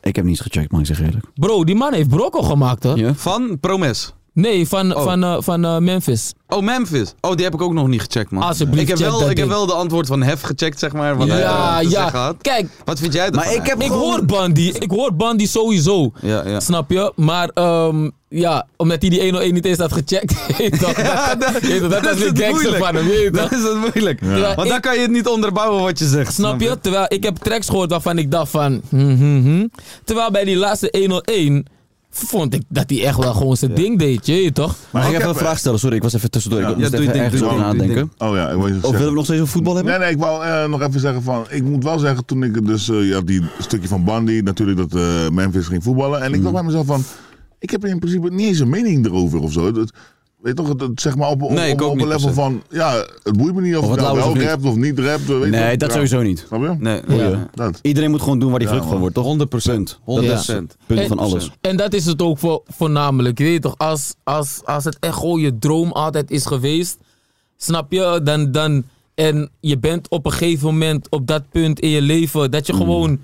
Ik heb niets gecheckt, man, ik zeg eerlijk.
bro, die man heeft brokkel gemaakt hoor.
Ja.
Van Promes.
Nee, van, van, eh, van eh, Memphis.
Oh, Memphis. Oh, die heb ik ook nog niet gecheckt, man.
Alsjeblieft,
ik heb,
check dat
wel, ik heb
ding.
wel de antwoord van Hef gecheckt, zeg maar. Wat hij
ja,
erover te zeggen
ja.
had.
Kijk,
Wat vind jij ervan?
Maar ik
<laughs>
heb
ik
gewoon-
hoor Bandy. Ik hoor Bandy sowieso.
Ja, ja.
Snap je? Maar ehm, ja, omdat hij die 101 niet eens had gecheckt. <laughs> weet je toch?
dat-
Weet je toch, dat
dat
was
is
weer
het
gangster
moeilijk.
van hem. weet
<laughs>
je toch?
Dat is het moeilijk.
Terwijl
Want dan
ik-
kan je het niet onderbouwen wat je zegt.
Snap je? Terwijl ik heb tracks gehoord waarvan ik dacht van... hmm, hmm, hmm. Terwijl bij die laatste 101 vond ik dat hij echt wel gewoon zijn ding deed, je weet toch?
Mag ik even een
heb-
vraag stellen? Sorry, ik was even tussendoor.
Ja.
ik
Ja,
moest
doe je
even
ding,
ergens
doe je
over
ding, doe je
nadenken.
Oh ja, ik wou je
Of willen
zeggen.
we nog steeds over voetbal hebben?
Nee, nee, ik wou eh, nog even zeggen van... Ik moet wel zeggen, toen ik dus... eh, ja, die stukje van Bandy, natuurlijk dat eh, Memphis ging voetballen. En ik dacht bij mezelf van... Ik heb in principe niet eens een mening erover of zo. Dat, weet je toch, het, het- zeg maar op, op,
Nee, ik
op,
ook
op
niet
een level
per se.
van... Ja, het boeit me niet of,
Of
je
het lauw
nou
is
wel
of niet.
rapt of niet rapt. Weet
Nee,
je,
dat
ja.
sowieso niet.
Snap je? Oh,
Nee,
Ja.
ja.
Dat.
Iedereen moet gewoon doen waar hij gelukkig van wordt, toch?
100 100
Punt van alles.
En dat is het ook voor, voornamelijk, je weet toch? Als, als, als het echt gewoon je droom altijd is geweest, snap je? Dan, dan, en je bent op een gegeven moment op dat punt in je leven dat je gewoon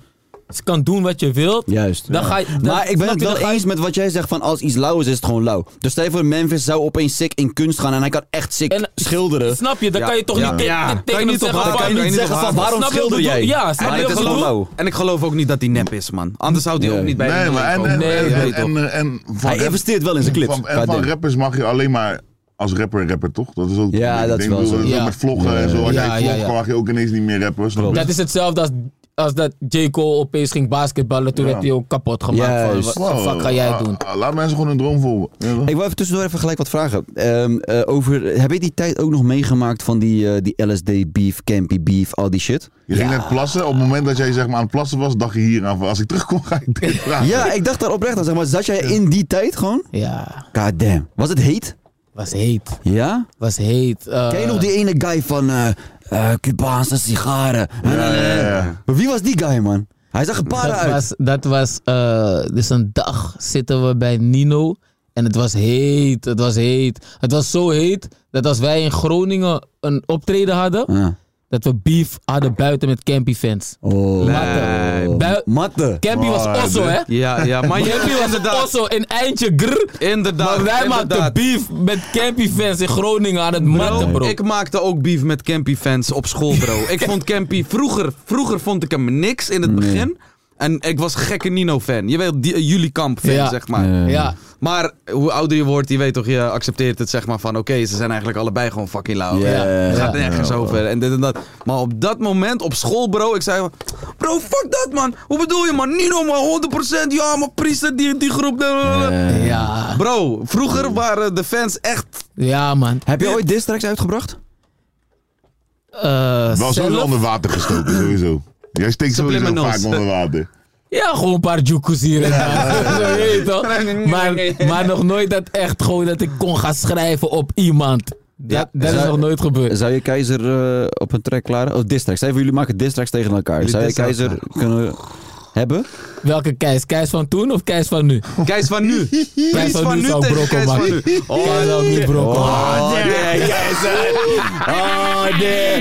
kan doen wat je wilt.
Juist.
Dan ga je, dan-
maar ik ben
snap
het
je, dan
wel
ga je-
eens met wat jij zegt van als iets lauw is, is het gewoon lauw. Dus stel je voor, Memphis zou opeens sick in kunst gaan en hij kan echt sick
En-
schilderen.
Snap je? Dan
Ja.
kan je toch
Ja.
niet te-
Ja.
te-
Kan
tegen
je
hem
niet
zeggen
op
van-
haar-
kan je niet
niet
zeggen
op
van
haar-
waarom
Snap je wat ik
schilder jij?
bedoel? Ja, snap
maar
je
het is
wat ik
gewoon
bedoel?
lauw.
En ik geloof ook niet dat hij nep is, man. Anders zou hij
Nee.
ook niet bij
Nee,
hem
maar en,
komen.
en,
Nee,
en,
ja,
en,
toch.
en, en van
Hij
rap-
investeert wel in zijn clips.
Van, en van rappers mag je alleen maar als rapper rapper, toch? Dat is ook.
Ja,
ik
dat is wel
bedoel,
zo.
ook
Ja.
Met vloggen en zo. Als
Ja,
jij
ja,
vlogt,
ja.
mag je ook ineens niet meer rappen. snap je?
Dat is hetzelfde als, als dat J. Cole opeens ging basketballen. Toen
Ja.
werd hij ook kapot gemaakt. van,
Juist.
wat
Wow.
de fuck ga jij doen?
Ah, ah, Laat mensen gewoon hun droom eh, volgen. Ja, toch?
Ik wil even tussendoor even gelijk wat vragen. Ehm, eh, over, heb je die tijd ook nog meegemaakt van die, eh, die LSD beef, campy beef, al die shit?
Je ging net plassen. Op het moment dat jij zeg maar, aan het plassen was, dacht je hier aan. van, Als ik terugkom, ga ik dit vragen.
Ja, ik dacht daar oprecht aan. Zeg maar, zat jij in die tijd gewoon?
Ja,
God damn. Was het heet?
was heet.
Ja?
Was heet. Eh,
Ken je nog die ene guy van eh eh, Cubaanse sigaren? Eh,
ja.
Maar wie was die guy, man? Hij zag een paar
Dat
uit.
was, dat was eh, dus een dag zitten we bij Nino. En het was heet, het was heet. Het was zo heet dat als wij in Groningen een optreden hadden,
Ja.
dat we beef hadden buiten met Campy fans.
Oh.
Matte. Bui-
Matte.
Campy was
Wow,
osso, hè?
Ja, ja,
<laughs>
maar je
Campy was een
inderdaad.
osso in eindje grrr.
Inderdaad,
Maar wij maakten
inderdaad.
beef met Campy fans in Groningen aan het matten, bro.
Ik maakte ook beef met Campy fans op school,
<laughs>
bro. ik vond Campy vroeger, vroeger vond ik hem niks in het begin. En ik was gekke Nino fan. Je weet, die, eh, jullie kamp fan,
Ja.
zeg maar.
Ja.
ja,
Maar hoe ouder je wordt, je weet toch, je accepteert het zeg maar van oké, ze zijn eigenlijk allebei gewoon fucking lauw.
Ja.
Het gaat
Ja.
nergens over en dit en dat. Maar op dat moment op school, bro, ik zei bro, fuck dat man. Hoe bedoel je man? Nino maar 100%, ja maar priester die, die groep.
Eh,
ja,
Bro, vroeger waren de fans echt
ja, man.
Heb je ooit distracts uitgebracht?
Eh,
Wel
zelf-
sowieso onder water gestoken, sowieso. Jij steekt sowieso
Subliminals.
vaak onder water.
Ja, gewoon een paar joekoes hier en daar. Zo, je
<laughs>
weet toch? Maar, maar nog nooit dat echt gewoon dat ik kon gaan schrijven op iemand. Dat,
Ja.
dat is
Zou-
nog nooit gebeurd.
Zou je keizer eh, op een track klaren? Oh, distracts. Even, jullie maken distracts tegen elkaar. Zou je
dissen
keizer kunnen hebben?
Welke Keis? Keis van toen of Keis van nu?
Keis van nu. Keis
van nu zou
tegen
Brokko
Keis van
maken.
nu. Oh,
Keis van nu, bro.
Oh, nee, keizer. Oh, nee.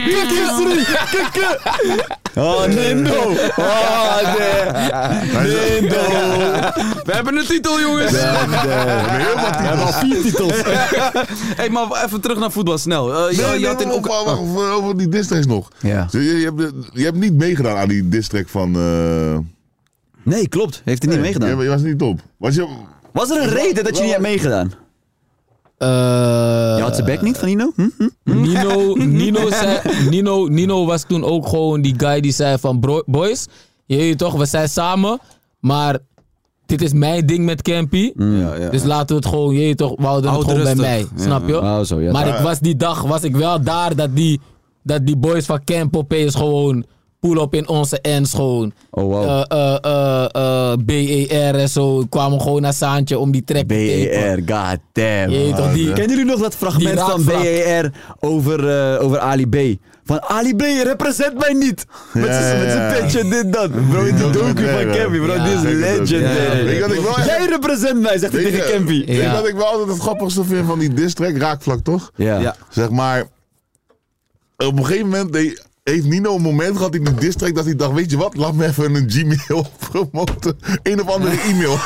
Oh, nee, no. Oh, nee.
Hij is-
We hebben een titel, jongens.
We hebben al vier titels.
hey, maar even terug naar voetbal, snel. Eh,
Nee,
je, je
nee,
had in
maar
Oek-
wacht, wacht, over, over die distracts nog.
Ja.
Je, je hebt, je hebt niet meegedaan aan die distrack van... eh,
Nee, klopt. Heeft hij niet meegedaan.
Je, je was niet op. Was je...
Was er een reden dat je niet hebt meegedaan? je had zijn bek niet van Nino? Hm? Hm?
Nino, Nino, zei, Nino, Nino was toen ook gewoon die guy die zei van... "Bro- Boys, je weet toch, we zijn samen, maar dit is mijn ding met Campy.
Ja, ja.
Dus laten we het gewoon, je weet toch, we houden het
Houd
gewoon bij
rustig. Ja.
mij. Snap je?
Oh, zo, ja.
Maar ik was die dag was ik wel daar dat die, dat die boys van Camp opeens gewoon pull-up in onze ends gewoon.
Oh, wow.
Eh, eh, eh, eh, BER en zo kwamen gewoon naar Saantje om die track te tapen.
BER, E goddamn.
Jeetje, toch, die-
Kennen jullie nog dat
die
fragment van
raakvlak.
BER over, eh, over Ali B? Van Ali B, represent mij niet! Met
Ja, ja, ja.
zijn petje, dit, dat. Bro, in de
Ja,
docu
ja,
van
ja.
Campy, bro.
Ja,
Dit
ik
is
weet het ook.
Ja, ja,
legendary.
ja.
Weet je wat ik wel echt-
Jij represent mij, zegt hij
Weet
tegen
je-
Campy.
Weet je
Ja.
wat ik wel altijd het grappigste vind van die diss track? Raakvlak, toch?
Ja.
Zeg maar, op een gegeven moment deed- heeft Nino een moment gehad in de district dat hij dacht, weet je wat, laat me even een Gmail <laughs> promoten. Een of andere e-mail.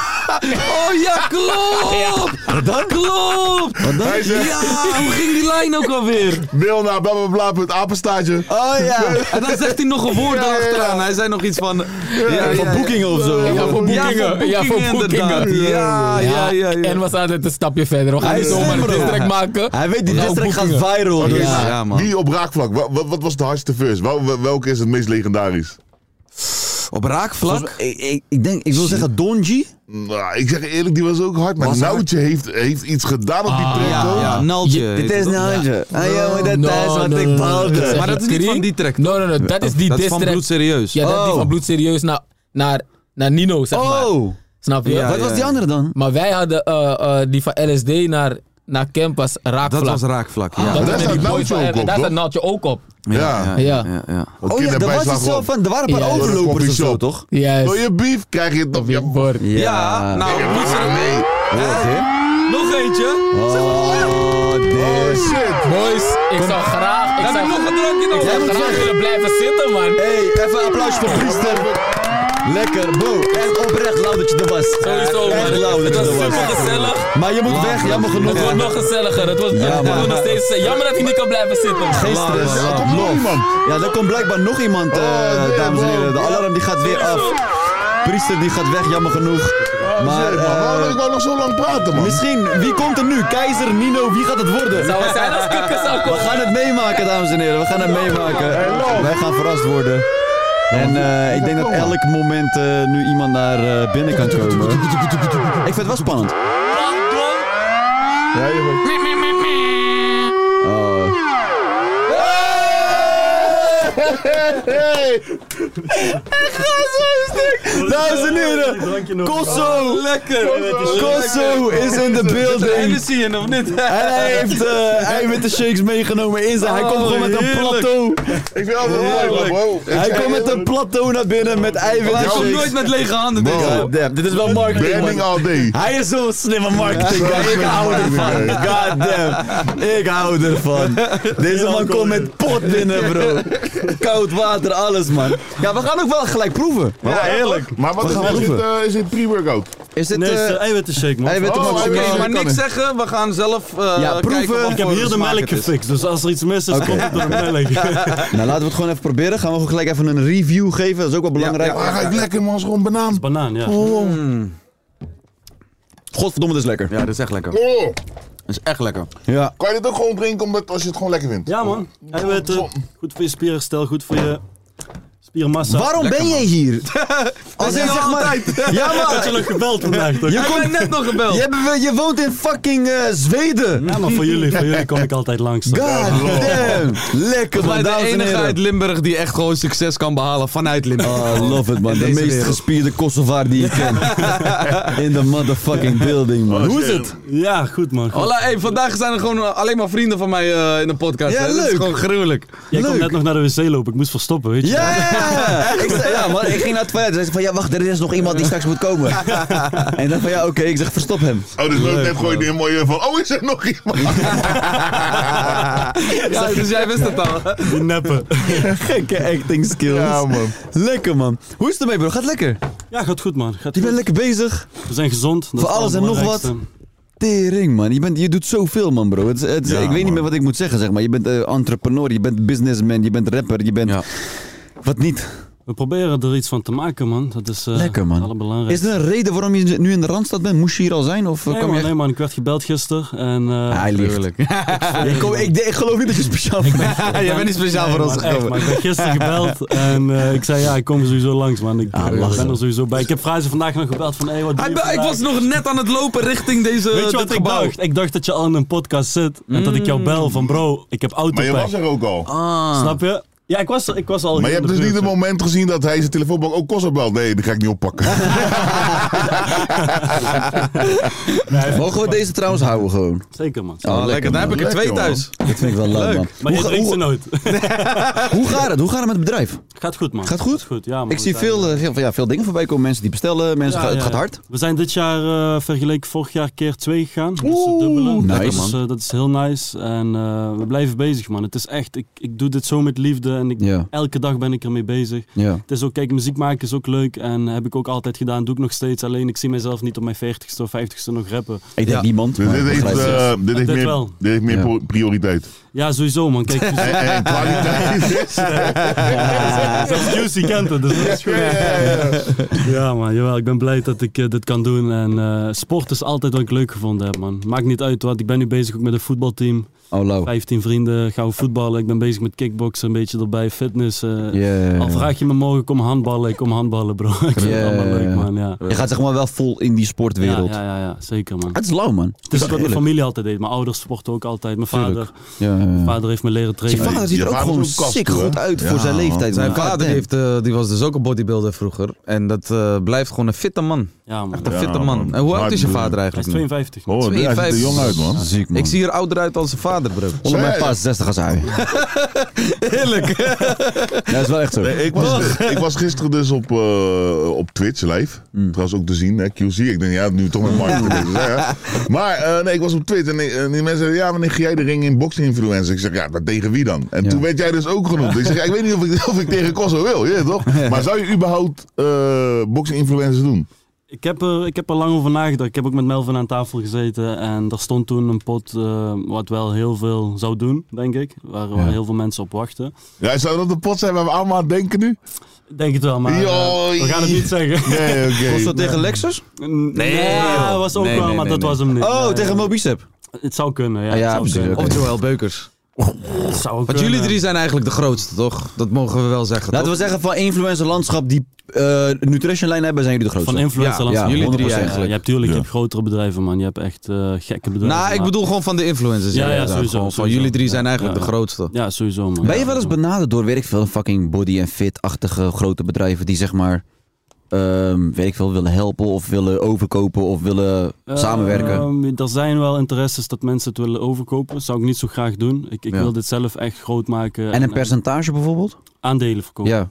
Oh
<laughs>
ja, klopt! Dat klopt!
Hij zegt,
Ja, hoe ging die lijn ook alweer?
mail naar bla bla bla, punt apenstaartje.
Oh ja.
En dan zegt hij nog een woord
Ja, ja, ja.
erachteraan.
En hij zei nog iets van... Ja,
Van boekingen of zo.
Ja, voor boekingen. Ja, voor boekingen.
Ja, ja, ja. ja.
En we staan net een stapje verder. We gaan
Hij
niet
is
zomaar een
slim, bro.
district maken.
Hij weet, die
We gaan
district gaat
boekingen.
viral.
Oké,
dus-
Ja.
maar
Ja, man.
Die op raakvlak, wa- wa- wat, was de hardste verse? Wel- wel- Welke is het meest legendarisch?
Op raakvlak...
Volgens mij- Ik, ik, ik denk, ik wil zeggen Donji.
Nou, ik zeg je eerlijk, die was ook hard, maar
Was hard.
Noutje heeft, heeft iets gedaan op die
Ah,
track,
Ja,
hoor.
ja. Naltje. heet
Dit is
het.
Nalje. Ah ja, maar
No,
dat is
no,
wat
no, no,
ik baalde.
no.
Maar dat is niet van die track.
No, no, no. Dat is die
Dat is van
diss track.
Bloed Serieus.
Ja, dat die
Oh.
van bloed serieus naar, naar, naar Nino, zeg maar.
Oh,
Snap je?
Ja,
wat was die andere dan?
Maar wij hadden eh, eh, die van LSD naar, naar Camp was raakvlak. Ah,
Dat was raakvlak, ja.
Dat
Daar
was met
staat
die boys
Nautje
van-
ook op,
Daar
toch?
staat Nautje ook op.
Ja.
Ja.
ja, ja.
Oh ja, er was iets zo van, er waren een paar
Ja, ja.
overlopers of zo,
Coffeeshop.
toch?
Wil
Juist.
je beef? Krijg je het op je bord.
Bord.
Ja, nou, bloed Serieus- Nog eentje.
Oh,
Oh
this.
shit.
Boys, ik zou graag... Ik
Heb
zou
ik nog een drankje
Ik zou
nodig?
graag willen blijven zitten, man.
Hey, even een applausje voor Priester. Lekker, bro. Echt oprecht lauw dat je er was.
Sowieso, man.
Echt lauw dat
Het
je
was
er was.
super gezellig.
Maar je moet weg, jammer genoeg.
Het wordt nog gezelliger. Het wordt, het
man.
wordt nog steeds, eh, jammer dat hij niet kan blijven zitten.
Geen stress.
Ja, komt er nog iemand?
Ja, er komt blijkbaar nog iemand, eh,
Oh, nee,
dames en heren. De
man.
alarm die gaat weer af. Priester die gaat weg, jammer genoeg. Maar
Shit, man. Waarom wil
eh,
ik nou nog zo lang praten, man?
misschien, wie komt er nu? Keizer, Nino, wie gaat het worden? <laughs>
Zou het zijn als kikker zou
We
komen?
gaan het meemaken, dames en heren. We gaan het meemaken. Wij gaan verrast worden. En eh, ik denk dat elk moment eh, nu iemand naar eh, binnen kan komen. Ik vind het wel spannend.
Ja, je bent-
Oh.
Hey!
Dames en heren, Kosso! Lekker! Kosso is in de building.
Energy in, of niet?
En hij
<laughs>
heeft eh eiwitten shakes meegenomen in zijn. Hij komt gewoon
Oh,
met een plateau.
Ik vind altijd mooi, man. Wow.
Hij komt met een plateau naar binnen met eiwitten
Hij komt nooit
shakes.
met lege handen. denk ik.
God damn, dit is wel marketing.
Branding
man.
all day.
Hij is zo'n slimme marketing.
Ja,
ik
slimme
hou ervan.
marketing,
<laughs> God damn. Ik hou ervan. Deze man komt met pot binnen,
<laughs>
bro. Koud water, alles, man. Ja, we gaan ook wel gelijk proeven.
Ja, heerlijk. Maar wat is,
gaan
is dit,
proeven.
eh, is dit pre-workout?
Is dit... eh,
eiwitten shake, man.
eiwitten
Oh,
maximum?
oké,
Oké, maar
kan
niks
het.
zeggen. We gaan zelf eh,
Ja, proeven.
kijken wat
Ik
Ik heb
voor
hier de
smaak
melk
het is.
gefixt, dus als er iets mis is, komt het door de
<laughs>
melk.
Nou, laten we het gewoon even proberen. Gaan we gewoon gelijk even een review geven. Dat is ook wel belangrijk.
Ah, hij ruikt lekker, man. Is gewoon banaan.
Banaan, ja.
Godverdomme, dit is lekker.
Ja, dat is echt lekker.
Oh,
Dat is echt lekker.
Ja.
kan je dit ook gewoon drinken omdat, als je het gewoon lekker vindt?
Ja, man. Eiwitten, eh, goed voor je spierherstel, goed voor je spiermassa.
Waarom ben jij
<laughs>
hier? Als in, zeg maar... Ja,
Ik had je
maar...
nog gebeld vandaag, toch?
Je,
Ik ben
komt,
net nog gebeld.
je, hebt- je woont in fucking eh, Zweden.
Ja, maar voor jullie, voor jullie
<laughs>
kom ik altijd langs. toch?
God damn. Lekker, man.
Wij de
Dames en
enige uit
heren.
Limburg die echt gewoon succes kan behalen vanuit Limburg.
Oh, love it, man. De
deze
meest
wereld.
gespierde Kosovaar <laughs> die ik ken. In de motherfucking building, man. Hoe is
shit.
het?
Ja, goed, man. Goed.
Hola, hey, vandaag zijn er gewoon eh, alleen maar vrienden van mij eh, in de podcast.
Ja,
hè. Dat is
leuk.
gewoon gruwelijk.
Jij komt
leuk.
net nog naar de wc lopen, ik moest verstoppen, weet je.
Ja, ja, ik zei, ja, man. Ik ging naar het toilet. Ze zei van, ja, wacht, er is nog iemand die straks moet komen. En dan van, ja, oké. Ik zeg, verstop hem.
Oh, dus leuk. Net gooi je een mooie van. Oh, is er nog iemand?
Ja, dus jij wist het al.
Die neppen.
Gekke acting skills.
Ja, <laughs> man.
Lekker, man. Hoe is het ermee, bro? Gaat lekker.
Ja, gaat goed, man. Gaat
Je
goed.
bent lekker bezig.
We zijn gezond. dat
Voor
is het
alles en nog wat.
allerbelangrijkste.
Tering, man. Je, bent, je doet zoveel, man, bro. Het, is- het is-
Ja,
ik weet niet
man.
meer wat ik moet zeggen, zeg maar. Je bent eh, entrepreneur, je bent businessman, je bent rapper, je bent...
Ja.
Wat niet?
We proberen er iets van te maken, man. Dat is eh
Lekker, man.
het allerbelangrijkste.
Is er een reden waarom je nu in de Randstad bent? Moest je hier al zijn? Of eh,
Nee
kwam
man,
je echt...
nee man, ik werd gebeld gisteren en... eh,
Hij liegt. ik, kom, ik, ik geloof niet dat je speciaal
<laughs>
bent.
ben- Nee, man, echt, maar ik ben gisteren gebeld en eh, ik zei ja, ik kom sowieso langs man. Ik
Ah,
eh, ben er sowieso bij. Ik heb Fraser vandaag nog gebeld van hey, wat doe
Hij
je
be- ik
vandaag?
was nog net aan het lopen richting deze,
Weet je
dit
wat ik
gebouw.
dacht? Ik dacht dat je al in een podcast zit en dat ik jou bel van bro, ik heb auto.
Maar je was er ook al.
Ah,
Ah.
Snap je? Ja, ik was, ik was al
Maar
hier
je
in
hebt
de
dus niet
buurt.
het moment gezien dat hij zijn telefoon belt. Oh, Kosso belt. Nee, die ga ik niet
<laughs>
oppakken. Dus
Mogen we deze trouwens houden gewoon?
Zeker man.
Oh, lekker.
Dan heb ik er twee
Lekker, man.
thuis.
Dat vind ik wel leuk,
Leuk.
man. Hoe,
Maar
ga-
je drinkt ze
hoe-
nooit. <laughs>
hoe gaat het? Hoe gaat het met het bedrijf?
Gaat goed man.
Gaat goed?
ja, man.
Ik
We
zie
zijn,
veel, eh, veel, ja, veel dingen voorbij komen. Mensen die bestellen. Mensen
Ja,
gaan- Eh, het
ja,
gaat
ja.
hard.
We zijn dit jaar eh, vergeleken vorig jaar keer twee gegaan. dus het dubbele.
nice,
dat, is,
man.
eh, dat is heel nice. En eh, we blijven bezig, man. Het is echt, ik, ik doe dit zo met liefde en ik,
Ja.
elke dag ben ik ermee bezig.
Ja.
Het is ook, kijk, muziek maken is ook leuk en heb ik ook altijd gedaan. Doe ik nog steeds. Alleen ik zie mezelf niet op mijn 40ste of 50ste nog rappen.
Ik denk niemand.
Dus
maar
dit,
ik
heeft,
begrijp het.
eh, dit, heeft
Dit
meer,
wel.
dit heeft meer
Ja.
pro- prioriteit.
Ja, sowieso, man.
<laughs>
Kijk, dus,
En, en kwaliteit
<laughs>
<laughs> is...
zelfs Juicy kent het, dus dat is goed. Ja, man, jawel. Ik ben blij dat ik eh, dit kan doen. En eh, sport is altijd wat ik leuk gevonden heb, man. Maakt niet uit, want ik ben nu bezig ook met een voetbalteam.
Oh, lauw.
15 vrienden, gaan we voetballen. Ik ben bezig met kickboksen, een beetje erbij, fitness. eh.
ja, ja.
Al vraag je me morgen, kom handballen. Ik kom handballen, bro. <laughs> Ik vind
Ja,
het allemaal
ja, ja.
leuk, man. Ja.
Je gaat zeg maar wel vol in die
Ja,
sportwereld.
ja, ja, ja, zeker, man.
Het is lauw, man.
Het
Dat
is wat mijn
Ah, heerlijk.
familie altijd deed. Mijn ouders sporten ook altijd. Mijn vader,
Ja, ja, ja.
mijn vader heeft me leren
Zijn
trainen.
vader ziet
Je
er ook
vader is
gewoon
ook kast,
sick
hoor.
goed uit voor
Ja,
zijn leeftijd.
Zijn
man. God
vader
damn.
heeft, eh, die was dus ook een bodybuilder vroeger. En dat eh, blijft gewoon een fitte man.
Ja, man.
Echt een
Ja,
fitte
man.
man. En hoe oud is je
Hard
vader
Hij is
eigenlijk nu?
52.
Oh, hij ziet er
52.
jong uit, man.
Ziek, man.
Ik zie er ouder uit dan zijn vader, bro.
Onder mijn
Zij-
paas 60 als hij.
Heerlijk.
Dat is wel echt zo.
Nee, ik, was, ik was gisteren dus op, eh, op Twitch live. Trouwens ook te zien, hè, QC. Ik denk, ja, nu toch met Mark bezig zijn. hè. Maar eh, nee, ik was op Twitch en, ik- en die mensen zeiden, ja, wanneer ga jij de ring in boxing influencer? Ik zeg, ja, maar tegen wie dan? En
Ja.
toen werd jij dus ook genoemd. Ik zeg, ja, ik weet niet of ik, <laughs> of ik tegen Kosso wil, je weet <laughs> toch? Maar zou je überhaupt eh boxing influencers doen?
Ik heb, er, ik heb er lang over nagedacht. Ik heb ook met Melvin aan tafel gezeten. En er stond toen een pot eh, wat wel heel veel zou doen, denk ik. Waar, waar heel veel mensen op wachten.
Ja, zou dat de pot zijn waar we allemaal aan denken nu?
Ik Denk het wel, maar eh,
Joi.
we gaan het niet zeggen.
Nee, oké.
Was dat tegen Lexus?
Nee, dat was ook
Nee,
wel,
nee,
maar
nee,
dat
nee.
was hem niet.
Oh,
Nee.
tegen Mobicep.
Het zou kunnen, ja.
Ah, ja,
het zou
precies,
kunnen.
oké.
Of Joël Beukers.
Het zou
Want
kunnen.
jullie drie zijn eigenlijk de grootste, toch? Dat mogen we wel zeggen.
Laten we
toch?
zeggen, van influencer landschap die eh nutrition lijn hebben, zijn jullie de grootste.
Van influencer
Ja,
langs
ja,
de-
jullie drie
100%.
eigenlijk.
Je hebt tuurlijk je hebt grotere bedrijven, man. Je hebt echt eh, gekke bedrijven.
Nou, ik
maar-
bedoel gewoon van de influencers.
Ja, ja,
inderdaad.
sowieso,
Gewoon Van
sowieso.
jullie drie zijn eigenlijk
Ja,
de
ja.
grootste.
Ja, sowieso, man.
Ben je
Ja,
wel eens
man.
benaderd door, weet ik veel, fucking body- en fit-achtige grote bedrijven die zeg maar, ehm, weet ik veel, willen helpen of willen overkopen of willen
Eh,
samenwerken?
Ehm, er zijn wel interesses dat mensen het willen overkopen. zou ik niet zo graag doen. Ik, ik
Ja.
wil dit zelf echt groot maken.
En een percentage bijvoorbeeld?
aandelen verkopen.
Ja,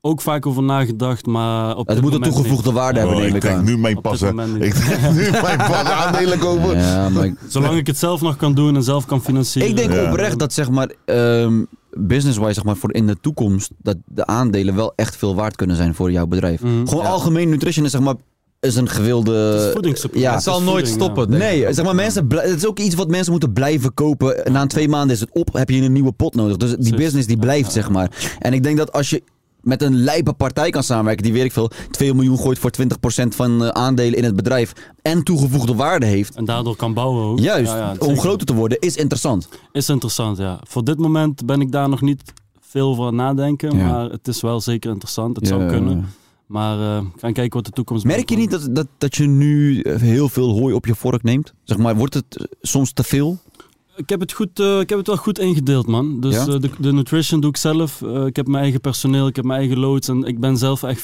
Ook vaak over nagedacht, maar op
het
dit
moet een
moment
toegevoegde waarde hebben,
Oh,
neem
ik
ik
trek
aan.
nu mijn
Op dit
pas, hè.
moment niet.
Ik trek nu mijn pas aandelen kopen.
Ja, maar ik,
niet. Zolang ik het zelf nog kan doen en zelf kan financieren.
ik denk
Ja.
oprecht dat zeg maar, ehm, business-wise zeg maar, voor in de toekomst, dat de aandelen wel echt veel waard kunnen zijn voor jouw bedrijf.
Mhm.
Gewoon algemeen nutrition is zeg maar, is een
Het is
gewilde...
voedingssupplement.
ja.
het zal
is
nooit
voeding,
stoppen.
ja.
denk ik.
Nee, zeg maar, mensen, bl- het is ook iets wat mensen moeten blijven kopen. Na twee maanden is het op, heb je een nieuwe pot nodig. Dus die
Precies.
business die blijft, zeg maar. En ik denk dat als je met een lijpe partij kan samenwerken, die weet ik veel, 2 miljoen gooit voor 20% van eh, aandelen in het bedrijf en toegevoegde waarde heeft.
En daardoor kan bouwen ook.
Juist,
Ja, ja,
om
zeker.
groter te worden is interessant.
Is interessant, ja. Voor dit moment ben ik daar nog niet veel voor aan het nadenken,
Ja.
maar het is wel zeker interessant. Het
Ja.
zou kunnen. Maar eh, we gaan kijken wat de toekomst
Merk je niet dat, dat, dat je nu eh, heel veel hooi op je vork neemt? Zeg maar, wordt het eh, soms te veel?
Ik heb het, goed, eh, ik heb het wel goed ingedeeld, man. Dus
Ja?
eh, de, de nutrition doe ik zelf. Eh, ik heb mijn eigen personeel, ik heb mijn eigen loads. En ik ben zelf echt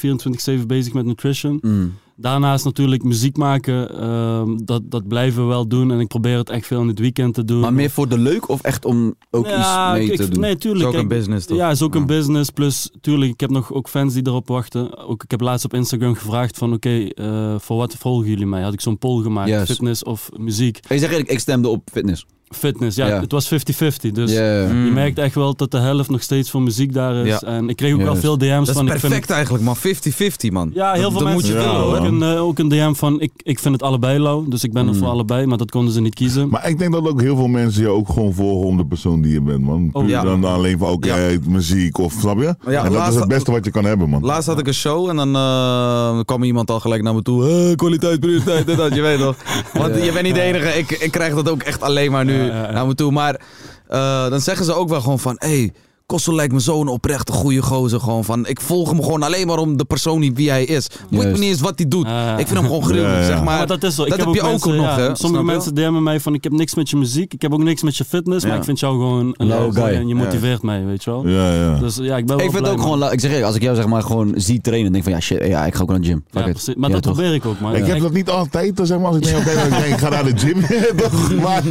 24-7 bezig met nutrition.
Mm.
Daarnaast natuurlijk muziek maken. ehm, dat, dat blijven we wel doen. En ik probeer het echt veel in het weekend te doen.
Maar meer voor de leuk of echt om ook
Ja,
iets mee
ik-
te
ik-
doen?
Nee,
Het is
tuurlijk.
ook een
Kijk,
business, toch?
Ja, is ook een business. Plus, tuurlijk, ik heb nog ook fans die erop wachten. Ook, ik heb laatst op Instagram gevraagd van, oké, eh, voor wat volgen jullie mij? Had ik zo'n poll gemaakt,
Juist.
fitness of muziek.
Ik zeg eerlijk, ik stemde op fitness.
Fitness, ja,
Ja.
het was 50-50. Dus
Ja, ja.
Hmm.
je
Mm.
merkt echt wel dat de helft nog steeds voor muziek daar is.
Ja.
En ik kreeg ook wel
Juist.
veel DM's
Dat
van...
is
ik vind
perfect eigenlijk, man. 50-50, man.
Ja, heel
Dat-
veel
dat
mensen
moet je
willen
willen,
ook,
hoor.
een, eh, ook een DM van ik, ik vind het allebei lauw, dus ik ben
Hmm.
er voor allebei, maar dat konden ze niet kiezen.
Maar ik denk dat ook heel veel mensen je ook gewoon volgen om de persoon die je bent, man.
Oh, ja.
Dan alleen van, oké,
Ja.
hij heeft muziek of, snap je?
Ja,
en dat
laatst
is het
had-
beste wat je kan hebben, man.
Laatst had ik een show en dan eh, kwam iemand al gelijk naar me toe. Eh, kwaliteit, prioriteit, dit, dat, je weet toch. Want je bent niet de enige, ik, ik krijg dat ook echt alleen maar nu naar me toe. Maar eh, dan zeggen ze ook wel gewoon van, hey, Kossel lijkt me zo'n oprechte goede gozer. Gewoon van, ik volg hem gewoon alleen maar om de persoon die wie hij is. Boeit me
Juist.
niet eens wat hij doet. ik vind hem gewoon gruwelijk,
Ja, ja.
zeg maar.
dat is zo.
Dat
ik heb,
heb je ook
mensen,
nog,
ja,
hè? Snap
Sommige
je?
mensen DM'en mij van ik heb niks met je muziek, ik heb ook niks met je fitness, maar
Ja.
ik vind jou gewoon een
Lauwe
lauwe guy
guy.
en je
Ja.
motiveert mij, weet je wel.
Ja, ja.
Dus ja, ik ben
Ik
wel
vind het
blij,
ook
man.
gewoon, la- ik zeg eerlijk, als ik jou zeg maar gewoon zie trainen, denk ik van ja shit, ja, ik ga ook naar de gym. Fuck
Ja,
it.
precies. Maar
Ja,
dat
toch?
probeer ik ook, man.
ik heb
Ik-
dat niet altijd, zeg maar. Als ik denk, oké, dan denk ik, ik ga naar de gym. <laughs> Toch? maar,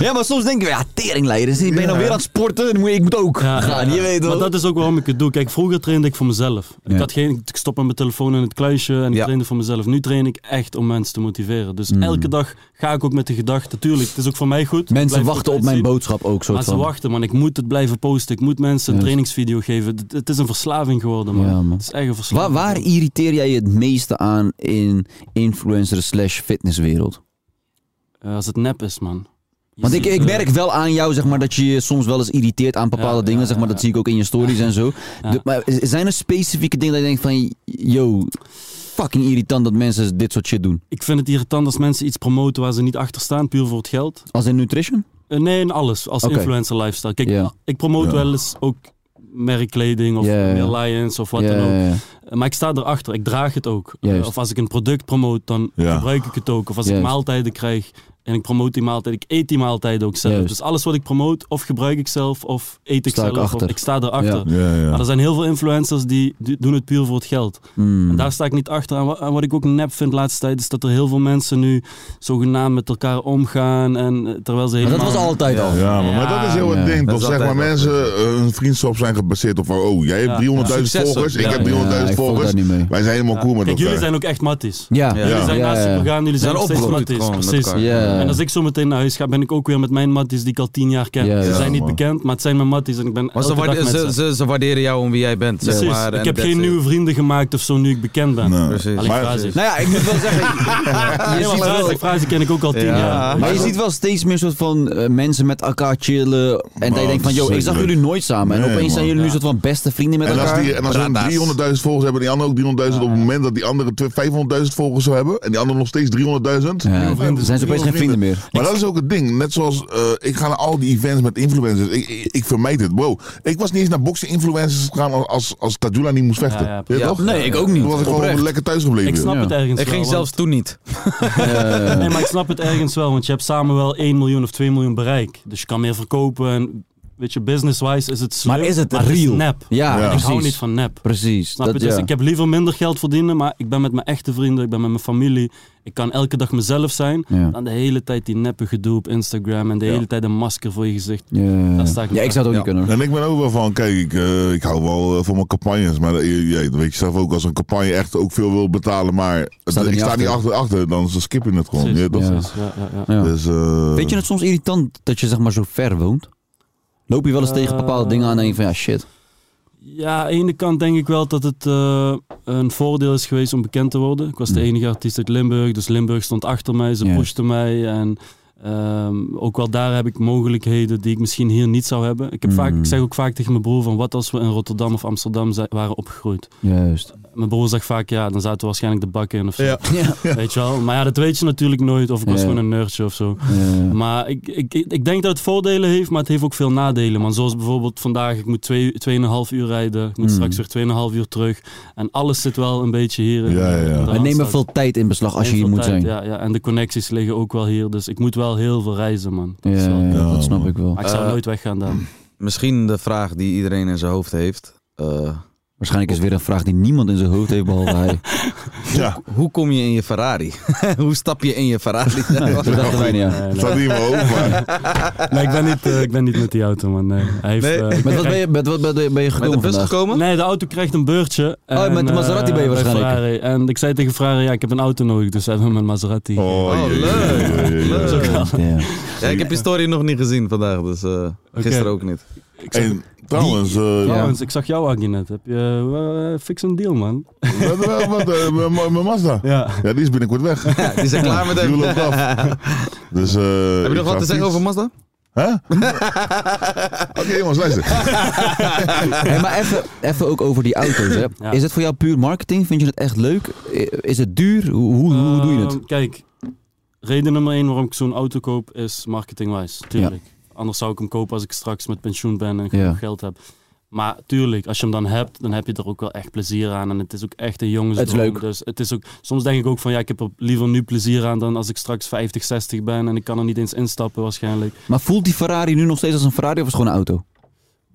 Ja, maar soms denk ik, ja, teringleiders, ik ben nou
Ja.
weer aan het sporten, dan moet- ik moet ook
Ja,
gaan,
ja,
je
ja.
weet
Maar
wel.
dat is ook waarom ik het doe. Kijk, vroeger trainde ik voor mezelf.
Ja.
Ik, had geen, ik stopte mijn telefoon in het kluisje en ik
Ja.
trainde voor mezelf. Nu train ik echt om mensen te motiveren. Dus
Mm.
elke dag ga ik ook met de gedachte, tuurlijk, het is ook voor mij goed.
Mensen
Blijf
wachten op
altijd
mijn
zien.
boodschap ook, soort
Maar ze
van.
wachten, man. Ik moet het blijven posten. Ik moet mensen een
Ja.
trainingsvideo geven. Het, het is een verslaving geworden, man.
Ja, man.
Het is echt een
Waar,
verslaving.
waar irriteer jij je het meeste aan in influencer slash fitnesswereld?
Eh, als het nep is, man. Je
Want ik,
ziet,
ik
eh,
merk wel aan jou zeg maar, dat je je soms wel eens irriteert aan bepaalde
Ja,
dingen.
ja,
zeg maar,
ja,
dat zie ik ook in je stories en zo.
<laughs> Ja.
De- maar z- zijn er specifieke dingen dat je denkt van... Yo, fucking irritant dat mensen dit soort shit doen.
Ik vind het irritant als mensen iets promoten waar ze niet achter staan, puur voor het geld.
Als in nutrition?
Eh, nee, in alles. Als
Oké.
influencer lifestyle. Kijk,
Ja.
ik promote
Ja.
wel eens ook merkkleding of
Ja, ja, ja.
meer Lions of wat
Ja,
dan ook.
ja, ja.
Eh, Maar ik sta erachter. Ik draag het ook. Eh,
Juist.
Of als ik een product promote, dan
Ja.
gebruik ik het ook. Of als ik
Juist.
maaltijden krijg en ik promote die maaltijd, ik eet die maaltijden ook zelf.
Juist.
Dus alles wat ik promote, of gebruik ik zelf, of eet ik
Sta ik
zelf. of
achter.
ik sta erachter.
Ja.
ja,
Maar
ja.
er zijn heel veel influencers die, die doen het puur voor het geld.
Mm.
Hmm.
En daar sta ik niet achter. En wa- en wat ik ook nep vind de laatste tijd, is dat er heel veel mensen nu zogenaamd met elkaar omgaan. En eh, terwijl ze
Maar
helemaal...
dat was altijd al.
Ja, maar, maar dat is heel het
Ja.
ding,
Dat
toch?
is
Zeg maar,
altijd
mensen, eh, hun vriendschap zijn gebaseerd op van, oh, jij hebt
Ja.
300.000
Succes,
volgers, ik
ja,
heb
ja,
300.000
ik volg
volgers.
daar niet mee.
Wij zijn helemaal cool met
Kijk,
elkaar.
jullie zijn ook echt matties.
Ja.
Ja.
Jullie zijn
Ja,
naast
ja, ja.
elkaar en jullie
Zijn
zijn, nog steeds
opgegroeid
matties.
gewoon met
Precies.
elkaar.
Ja.
En als ik zo meteen naar huis ga, ben ik ook weer met mijn matties die ik al tien jaar ken.
Ja,
Ze
ja,
zijn niet
man.
bekend, maar het zijn mijn matties en ik ben
Maar ze,
elke dag
waarde-
met
ze,
ze.
ze, ze waarderen jou om wie jij bent, zeg
Precies.
maar.
ik
en
heb
that's
geen
it.
nieuwe vrienden gemaakt of zo nu ik bekend ben.
Nee.
Precies.
Alleen
Maar-
frases.
Nou ja, ik moet wel
<laughs>
zeggen...
Nee,
je
maar
ziet wel-
frazen- frazen ken ik ook al tien
Ja.
Ah.
jaar.
Maar je ziet wel steeds meer soort van eh, mensen met elkaar chillen. En dat je
Man,
denkt van, yo, ik zag
zeker.
jullie nooit samen. En
Nee,
opeens zijn
man.
jullie nu
Ja.
soort van beste vrienden met
En als,
elkaar.
die, en als hun
Brada's.
300.000 volgers hebben, die anderen ook 300.000, op het moment dat die andere twee- 500.000 volgers zou hebben, en die andere nog steeds 300.000,
Ja, dan zijn ze opeens geen vrienden meer.
Maar dat is ook het ding. Net zoals eh, ik ga naar al die events met influencers. Ik, ik, ik vermijd het. Bro, ik was niet eens naar boksen influencers gegaan als, als, als Tadula niet moest vechten.
Ja, ja,
Ja,
ja.
toch?
Nee, ik ook niet.
Toen was ik gewoon
Oprecht.
lekker thuis gebleven.
Ik snap het ergens
Ik
wel,
ging
want-
zelfs toen niet.
Eh.
Nee, maar ik snap het ergens wel, want je hebt samen wel 1 miljoen of 2 miljoen bereik. Dus je kan meer verkopen en, weet je, business-wise is het slim.
Maar is het
is
real?
nep.
Ja,
Ja.
Ik hou niet
precies.
van nep.
Precies.
Snap
Dat-
je? Dus
ja.
ik heb liever minder geld verdienen, maar ik ben met mijn echte vrienden, ik ben met mijn familie. Ik kan elke dag mezelf zijn.
Ja.
Dan de hele tijd die neppe gedoe op Instagram en de hele tijd een masker voor je gezicht.
Ja.
Daar sta ik niet
ja, ik zou het ook niet kunnen. hoor.
En ik ben ook wel van, kijk, ik, eh, ik hou wel eh, van mijn campagnes. Maar eh, je- je- dat weet je zelf ook, als een campagne echt ook veel wil betalen, maar
Staat er
ik
niet
sta niet
achter.
achter, achter dan ze skippen het gewoon.
Precies,
Ja, toch?
precies. Ja, ja, ja.
Ja.
Dus, eh,
Vind je het soms irritant dat je zeg maar zo ver woont? Loop je wel eens tegen bepaalde
Eh,
dingen aan en denk je van ja shit.
Ja, aan de ene kant denk ik wel dat het eh, een voordeel is geweest om bekend te worden. Ik was de enige artiest uit Limburg, dus Limburg stond achter mij, ze
Ja.
pushten mij. En ehm, ook wel daar heb ik mogelijkheden die ik misschien hier niet zou hebben. Ik, heb vaak, ik zeg ook vaak tegen mijn broer van wat als we in Rotterdam of Amsterdam zijn- waren opgegroeid.
Juist.
Mijn broer zegt vaak, ja, dan zaten we waarschijnlijk de bak in of zo.
<laughs> Ja.
Weet je wel? Maar ja, dat weet je natuurlijk nooit. Of ik was
Ja.
gewoon een nerdje of zo. Maar ik, ik, ik, ik denk dat het voordelen heeft, maar het heeft ook veel nadelen. Man. Zoals bijvoorbeeld vandaag, ik moet twee- 2,5 uur rijden. Ik moet straks weer 2,5 uur terug. En alles zit wel een beetje hier. in-
Ja, ja, ja.
in de
Het
Het neemt wel
Randstad.
veel tijd in beslag als je
Heel
hier
veel
moet
tijd,
zijn.
Ja, ja, en de connecties liggen ook wel hier. Dus ik moet wel heel veel reizen, man. Dat is
Ja,
wel-
ja, dat snap
man.
ik wel.
Maar ik zou
Eh,
nooit weggaan dan.
Misschien de vraag die iedereen in zijn hoofd heeft. eh,
Waarschijnlijk is weer een vraag die niemand in zijn hoofd heeft, behalve <laughs> hij.
Ja.
Hoe kom je in je Ferrari? <laughs> Hoe stap je in je
<laughs>
Ferrari?
dat dachten wij niet aan.
nee. Staat niet in mijn hoofd, <laughs> Nee, ik ben niet, eh, ik ben niet met die auto, man. Nee. Hij heeft,
Nee.
eh,
Met wat ben je- met wat ben je- ben je gekomen
de bus
vandaag?
gekomen? Nee, de auto krijgt een beurtje.
Oh, met de Maserati
eh,
ben je
bij
waarschijnlijk.
Ferrari. En ik zei tegen Ferrari, ja, ik heb een auto nodig, dus hebben we mijn Maserati. Oh,
Ja, ik heb je story nog niet gezien vandaag, dus eh, gisteren ook niet.
Ik zag- En
trouwens, eh,
Trouwens, ik zag jou, Aggie, net. Heb je, eh, fix een deal, man.
Wat, wat, wat, eh, mijn- mijn mijn Mazda? Ja. die is binnenkort weg.
Ja, die zijn klaar met hem.
Die loopt af. Dus, eh,
Heb
ik
je nog
ga
wat te zeggen
fiets-
over Mazda?
Hè? Oké jongens, luister.
Hey, maar even, even ook over die auto's. Hè.
Ja.
Is het voor jou puur marketing? Vind je het echt leuk? I- Is het duur? Hoe, hoe, hoe doe je het?
Ehm, Kijk, reden nummer één waarom ik zo'n auto koop is marketingwijs. Tuurlijk. Anders zou ik hem kopen als ik straks met pensioen ben en genoeg
Ja.
geld heb. Maar tuurlijk, als je hem dan hebt, dan heb je er ook wel echt plezier aan. En het is ook echt een jongensdroom.
Het is leuk.
Dus het is ook, soms denk ik ook van, ja, ik heb er liever nu plezier aan dan als ik straks 50, 60 ben. En ik kan er niet eens instappen waarschijnlijk.
Maar voelt die Ferrari nu nog steeds als een Ferrari of is het gewoon een auto?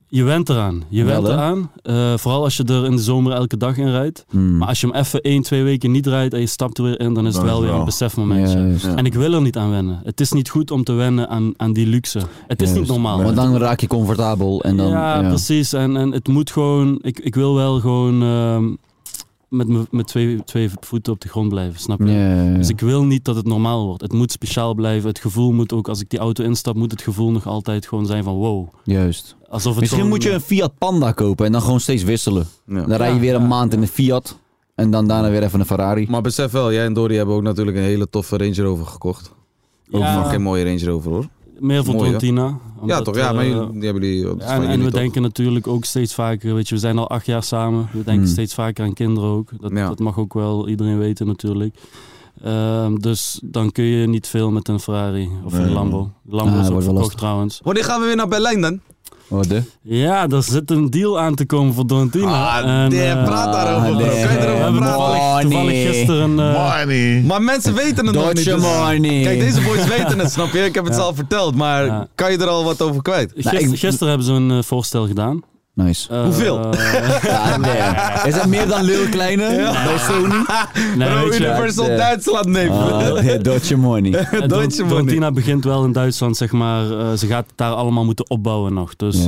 Je went eraan. Je
Wel,
went
hè?
eraan. Eh, vooral als je er in de zomer elke dag in rijdt.
Hmm.
Maar als je hem even één, twee weken niet rijdt en je stapt er weer in, dan is
Dan
het wel
is het
weer
wel.
een besefmomentje.
Juist.
En ik wil er niet aan wennen. Het is niet goed om te wennen aan, aan die luxe. Het is niet
Juist.
normaal.
Want dan raak je comfortabel en dan...
ja, precies. En, en het moet gewoon... Ik, ik wil wel gewoon ehm, met, me- met twee, twee voeten op de grond blijven, snap je?
Ja, ja, ja.
Dus ik wil niet dat het normaal wordt. Het moet speciaal blijven. Het gevoel moet ook, als ik die auto instap, moet het gevoel nog altijd gewoon zijn van wow.
Juist.
Alsof het
Misschien
gewoon-
moet je een Fiat Panda kopen en dan gewoon steeds wisselen. Dan rij
Ja,
je weer een maand in een Fiat en dan daarna weer even een Ferrari.
Maar besef wel, jij en Dory hebben ook natuurlijk een hele toffe Range Rover gekocht. Ook
Ja.
van geen mooie Range Rover hoor.
Meer voor
Mooi, hè?
Tontina.
Ja
omdat,
toch, ja, maar
eh,
jullie, die hebben die... dat is van
en, en
jullie
we
toch?
denken natuurlijk ook steeds vaker, weet je, we zijn al acht jaar samen. We denken
Hmm.
steeds vaker aan kinderen ook. Dat, dat mag ook wel iedereen weten natuurlijk. Ehm, dus dan kun je niet veel met een Ferrari of
Nee.
een Lambo. Lambo
Ah,
is
wordt
ook
wel
verkocht
lastig.
trouwens.
Wanneer gaan we weer naar Berlijn dan?
Oh,
Ja, er zit een deal aan te komen voor Donatino. Ah,
damn, praat daarover, bro. Kan je erover praten?
Toevallig gisteren... eh,
Maar mensen weten het nog niet.
Deutsche
dus-
money.
Kijk, deze boys weten het, snap je? Ik heb het ze al verteld, maar kan je er al wat over kwijt?
Gister- Nou, gisteren Eh. hebben ze een eh, voorstel gedaan.
Nou, Nice.
Hoeveel? <laughs>
Ja, nee. Is dat meer dan Lil Kleine bij Sony?
Nee,
Bro,
weet je,
Universal
eh,
Duitsland neemt.
Ah, Deutsche money.
<laughs>
Eh, Don- Dontina begint wel in Duitsland, zeg maar. eh, ze gaat het daar allemaal moeten opbouwen nog. Dus, eh,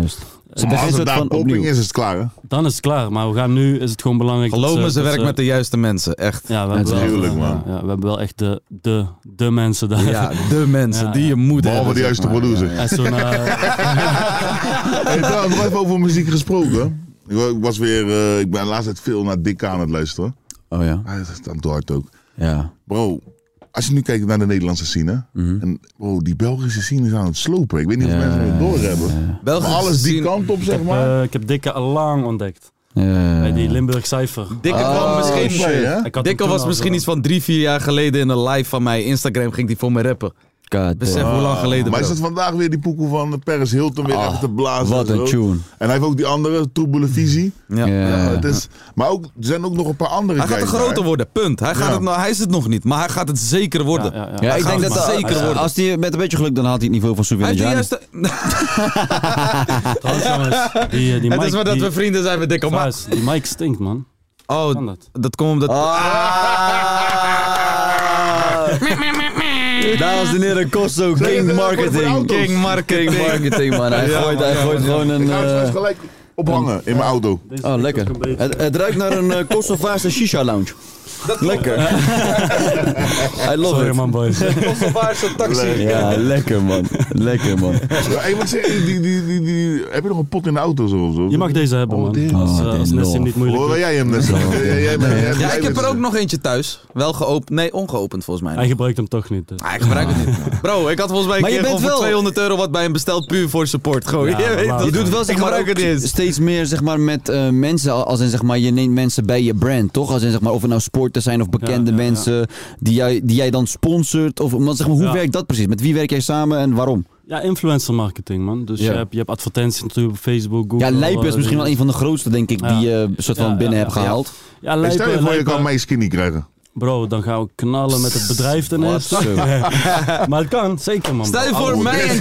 Maar als het daar opening is, is het klaar. Hè?
Dan is het klaar, maar we gaan nu, is het gewoon belangrijk... dat
Geloof me, ze
dat
werkt met de juiste mensen, echt.
Ja, we hebben wel, ja, ja, we hebben wel echt de, de, de mensen daar.
Ja, de mensen die je moet
Behalve de juiste producer.
En <laughs> zo'n, eh,
Hey, trouwens, nog even over muziek gesproken. Ik wa- ik was weer, eh, ik ben de laatste tijd veel naar Dikke aan het luisteren.
Oh ja.
dat is dan te hard ook.
Ja.
Bro, als je nu kijkt naar de Nederlandse scene. hè, En bro, die Belgische scene is aan het slopen. Ik weet niet of mensen het doorhebben. Maar
Belgische
alles die
scene-
kant op,
ik
zeg
heb,
maar.
eh, ik heb Dikke al lang ontdekt. Bij die Limburg Cypher.
Dikke
Ah, oh,
kwam misschien.
Ik had
Dikke
hem toen
was
al
misschien
zo.
iets van drie, vier jaar geleden in een live van mij. Instagram ging die voor me rappen. Besef hoe lang geleden.
Ah, Maar is
bro.
het vandaag weer die poekel van Paris Hilton weer achter te blazen?
wat
en
een
zo.
tune.
En hij heeft ook die andere, troebele visie.
Ja.
het is, maar ook, er zijn ook nog een paar andere
Hij gaat er
guys
groter
daar.
worden, punt. Hij, gaat
Ja.
het, nou, hij is het nog niet, maar hij gaat het zeker worden.
Ja, ja, ja.
Ja,
Hij
ik
gaat
denk
het
dat
zeker
zeker
worden.
als die met een beetje geluk dan haalt hij het niveau van
Hij
Souvenir
heeft de
Gianni.
juiste... <laughs>
Trouwens, jongens, die, eh,
<laughs>
die
Het is
mic,
maar dat
die-
we vrienden zijn met Dikke Ma.
Trouwens, Die mic stinkt, man.
Oh, dat? komt omdat...
Ah, Dames en heren, Kosto, King Marketing.
King Marketing.
King Marketing, man. Hij
Ja,
gooit, hij
man, ja,
gooit
man.
gewoon een...
Ik ga hem
eh,
straks gelijk ophangen in
eh,
mijn auto.
Oh, lekker. Het, het ruikt naar een
<laughs>
eh, Kosovaarse shisha lounge. lekker. <laughs> I love
Sorry,
it.
man, boys.
<laughs> Kosovaarse taxi.
Ja, lekker man. Lekker man.
Ja, hey, wat zeg je? die, die, die, die, heb je nog een pot in de auto zo? of zo? Oh,
Je mag deze hebben, man.
dit.
Als, eh, als Nessim niet moeilijk
Hoor
doet.
jij hem net zo? Ja, jij bent- jij
Ja, ik heb
bent-
er ook nog eentje thuis. Wel geopend. Nee, ongeopend volgens mij.
Hij gebruikt hem toch niet. dus.
Ah, ik gebruik het niet. Bro, ik had volgens mij een
Maar je
keer
bent
gewoon voor
wel-
200 euro wat bij hem besteld puur voor support. Gewoon.
Ja,
je weet
maar-
toch?
Je doet wel
ik
zeg maar,
gebruik het
ook
niet eens.
steeds meer zeg maar, met eh, mensen, al- als in zeg maar, je neemt mensen bij je brand, toch? Als in zeg maar, of het nou sporters zijn of bekende
ja, ja.
mensen eh, die jij, die jij dan sponsort. Of, maar zeg maar, hoe
Ja.
werkt dat precies? Met wie werk jij samen en waarom?
Ja, influencer marketing, man. Dus
Ja.
je, hebt, je hebt advertenties natuurlijk op Facebook, Google.
Ja, Lijpen is
eh,
misschien wel een van de grootste, denk ik,
Ja.
die je soort van
Ja,
binnen
ja,
hebt
ja.
gehaald.
Ja,
Hey, stel
Lijpen,
je voor, je
Lijpen-
kan mij skinny krijgen.
Bro, dan gaan we knallen met het bedrijf ten
Wat
eerste.
zo.
<laughs> maar het kan, zeker man.
Stel je voor, mij en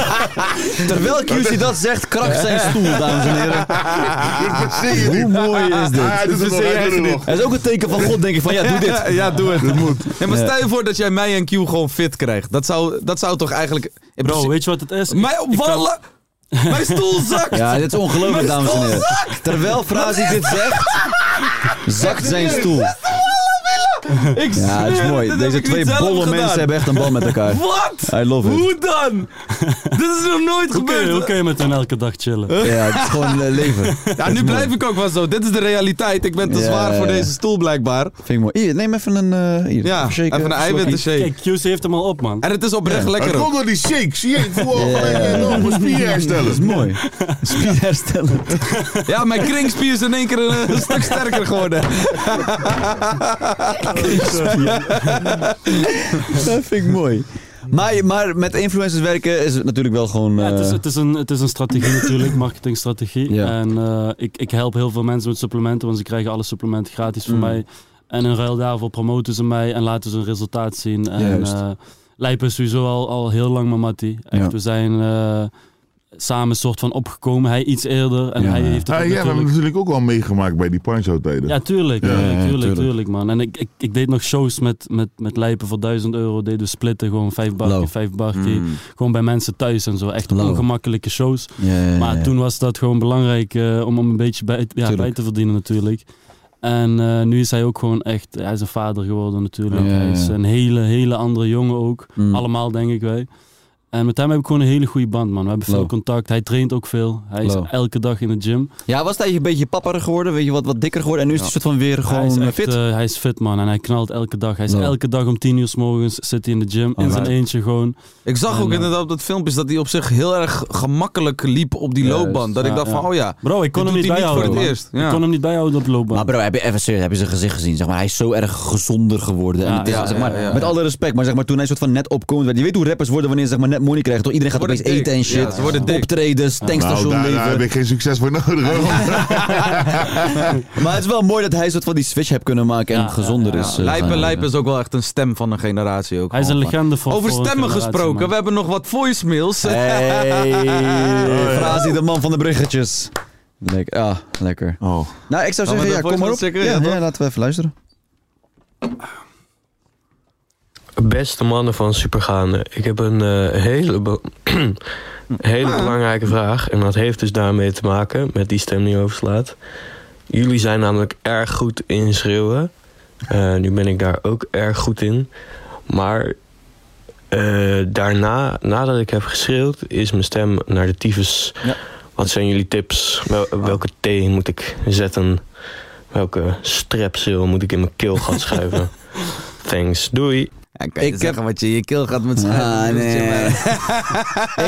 <laughs>
Terwijl QC dat zegt, krakt zijn stoel, dames en
<laughs>
heren. Hoe mooi is dit?
Ah, <laughs> hij doet het nog, hij doet het nog.
Dat is ook een teken van God, denk ik. Van ja, doe dit.
ja, doe het.
Dit moet.
Ja, maar
Ja.
stel je voor dat jij mij en Q gewoon fit krijgt. Dat zou, dat zou toch eigenlijk... in
Bro,
principe-
weet je wat het is?
Mij
<laughs>
opvallen! Mijn stoel zakt!
Ja, dit is ongelooflijk,
Mijn
dames en
stoel
heren.
zakt!
Terwijl Frazi dit zegt, zakt zijn stoel.
Ik
Ja, het is
zweer, dit
mooi.
heb
Deze
ik niet
twee
zelf
bolle
gedaan.
mensen hebben echt een bal met elkaar.
Wat?
I love it.
Hoe dan? Dit is nog nooit
Oké,
gebeurd.
hoe kun je met hen elke dag chillen?
Ja, het is gewoon eh, leven.
Ja, nu blijf ik ook wel zo. Dit is de realiteit. Ik ben te
Ja,
zwaar voor
ja.
deze stoel blijkbaar.
Vind ik mooi. Hier, neem even een... eh, hier,
Ja,
shaken,
even een eiwitten
slokje.
shake.
Kijk, QC heeft hem al op, man.
En het is oprecht lekker
Het
ook.
komt door die shake. Zie je, ik voel al gelijk enorme spieren
Dat is
herstellen.
mooi. Spier
<laughs>
herstellen.
Ja, mijn kringspier is in één keer een,
<laughs>
een stuk sterker geworden.
Dat vind ik mooi. Maar, maar met influencers werken is het natuurlijk wel gewoon...
Ja, het, is,
eh,
het, is een, het is een strategie natuurlijk, marketingstrategie.
Ja.
En eh, ik, ik help heel veel mensen met supplementen, want ze krijgen alle supplementen gratis van mij. En in ruil daarvoor promoten ze mij en laten ze hun resultaat zien. En
Juist.
eh Lijpen is sowieso al, al heel lang mijn mattie. Echt,
Ja.
we zijn eh, samen soort van opgekomen. Hij iets eerder en
Ja.
hij heeft
Ah,
het
ja,
ook
we hebben
natuurlijk...
natuurlijk ook wel meegemaakt bij die Pancho-tijden.
Ja, tuurlijk,
Ja,
eh,
ja,
tuurlijk,
tuurlijk.
tuurlijk, man. En ik, ik, ik deed nog shows met, met, met Lijpen voor 1000 euro. Deden we splitten, gewoon vijf
Lauw.
barkie, vijf barkie.
Mm.
Gewoon bij mensen thuis en zo. Echt
Lauw.
ongemakkelijke shows.
ja, ja, ja,
Maar
ja.
toen was dat gewoon belangrijk eh, om om een beetje bij, ja,
Tuurlijk.
bij te verdienen natuurlijk. En eh, nu is hij ook gewoon echt, hij is een vader geworden natuurlijk.
Ja,
Hij is
ja.
een hele, hele andere jongen ook.
Mm.
Allemaal denk ik wij. En met hem heb ik gewoon een hele goede band man. We hebben veel
Low.
contact, hij traint ook veel. Hij is
Low.
elke dag in de gym.
Ja, was hij een beetje papperig geworden, weet je, wat, wat dikker geworden en nu is hij soort van weer
hij, is
gewoon
echt,
fit.
eh, hij is fit man en hij knalt elke dag. Hij is
Low.
elke dag om tien uur s morgens zit hij in de gym in zijn
Alright.
eentje gewoon.
Ik zag ook
Ja.
inderdaad op dat filmpjes dat hij op zich heel erg gemakkelijk liep op die
Juist.
loopband. Dat ik
Ja,
dacht van,
ja.
oh ja.
Bro, ik
Dit
kon hem
doet
niet
hij niet
bijhouden.
voor het
man.
eerst. Ja.
Ik kon hem niet bijhouden op de loopbaan.
maar bro, heb je, even serieus, heb je zijn gezicht gezien? Zeg maar, hij is zo erg gezonder geworden. en
Ja,
het is,
ja,
zeg maar,
ja, ja.
Met alle respect, maar, zeg maar toen hij soort van net opkomend werd. Je weet hoe rappers worden wanneer ze zeg maar, net money krijgen. Toch? Iedereen gaat
Worden
opeens eten en
dik. Ja,
shit.
ze worden dik.
Optredens,
Nou,
tankstation
daar, daar
leven.
heb ik geen succes voor nodig. hoor.
Maar het is wel mooi dat hij soort van die switch heeft kunnen maken en
Ja,
gezonder
Ja,
is. eh,
Lijpen,
gaan
Lijpen
worden.
is ook wel echt een stem van een generatie ook.
hij is een
Oh,
gewoon van-
legende voor
Over
voor een
stemmen
generatie,
gesproken,
man.
we hebben nog wat voicemails. <laughs>
Hey, Frazi, de man van de bruggetjes. Lekker, ah, lekker.
Oh.
Nou, ik zou
Gaan we
zeggen,
de
ja, kom maar op.
voicemails checken? Ja,
ja,
toch?
laten we even luisteren.
Beste mannen van Supergaande, ik heb een eh, hele, be- <clears throat> hele belangrijke vraag. En dat heeft dus daarmee te maken met die stem die overslaat. Jullie zijn namelijk erg goed in schreeuwen. Eh, nu ben ik daar ook erg goed in. Maar eh, daarna, nadat ik heb geschreeuwd, is mijn stem naar de tyfus.
Ja.
Wat zijn jullie tips? Wel- welke thee moet ik zetten? Welke strepsil moet ik in mijn keelgat schuiven? Thanks, doei!
Ja, kan je
Ik
zeggen wat je in je keel gaat met schuim.
Ah, nee.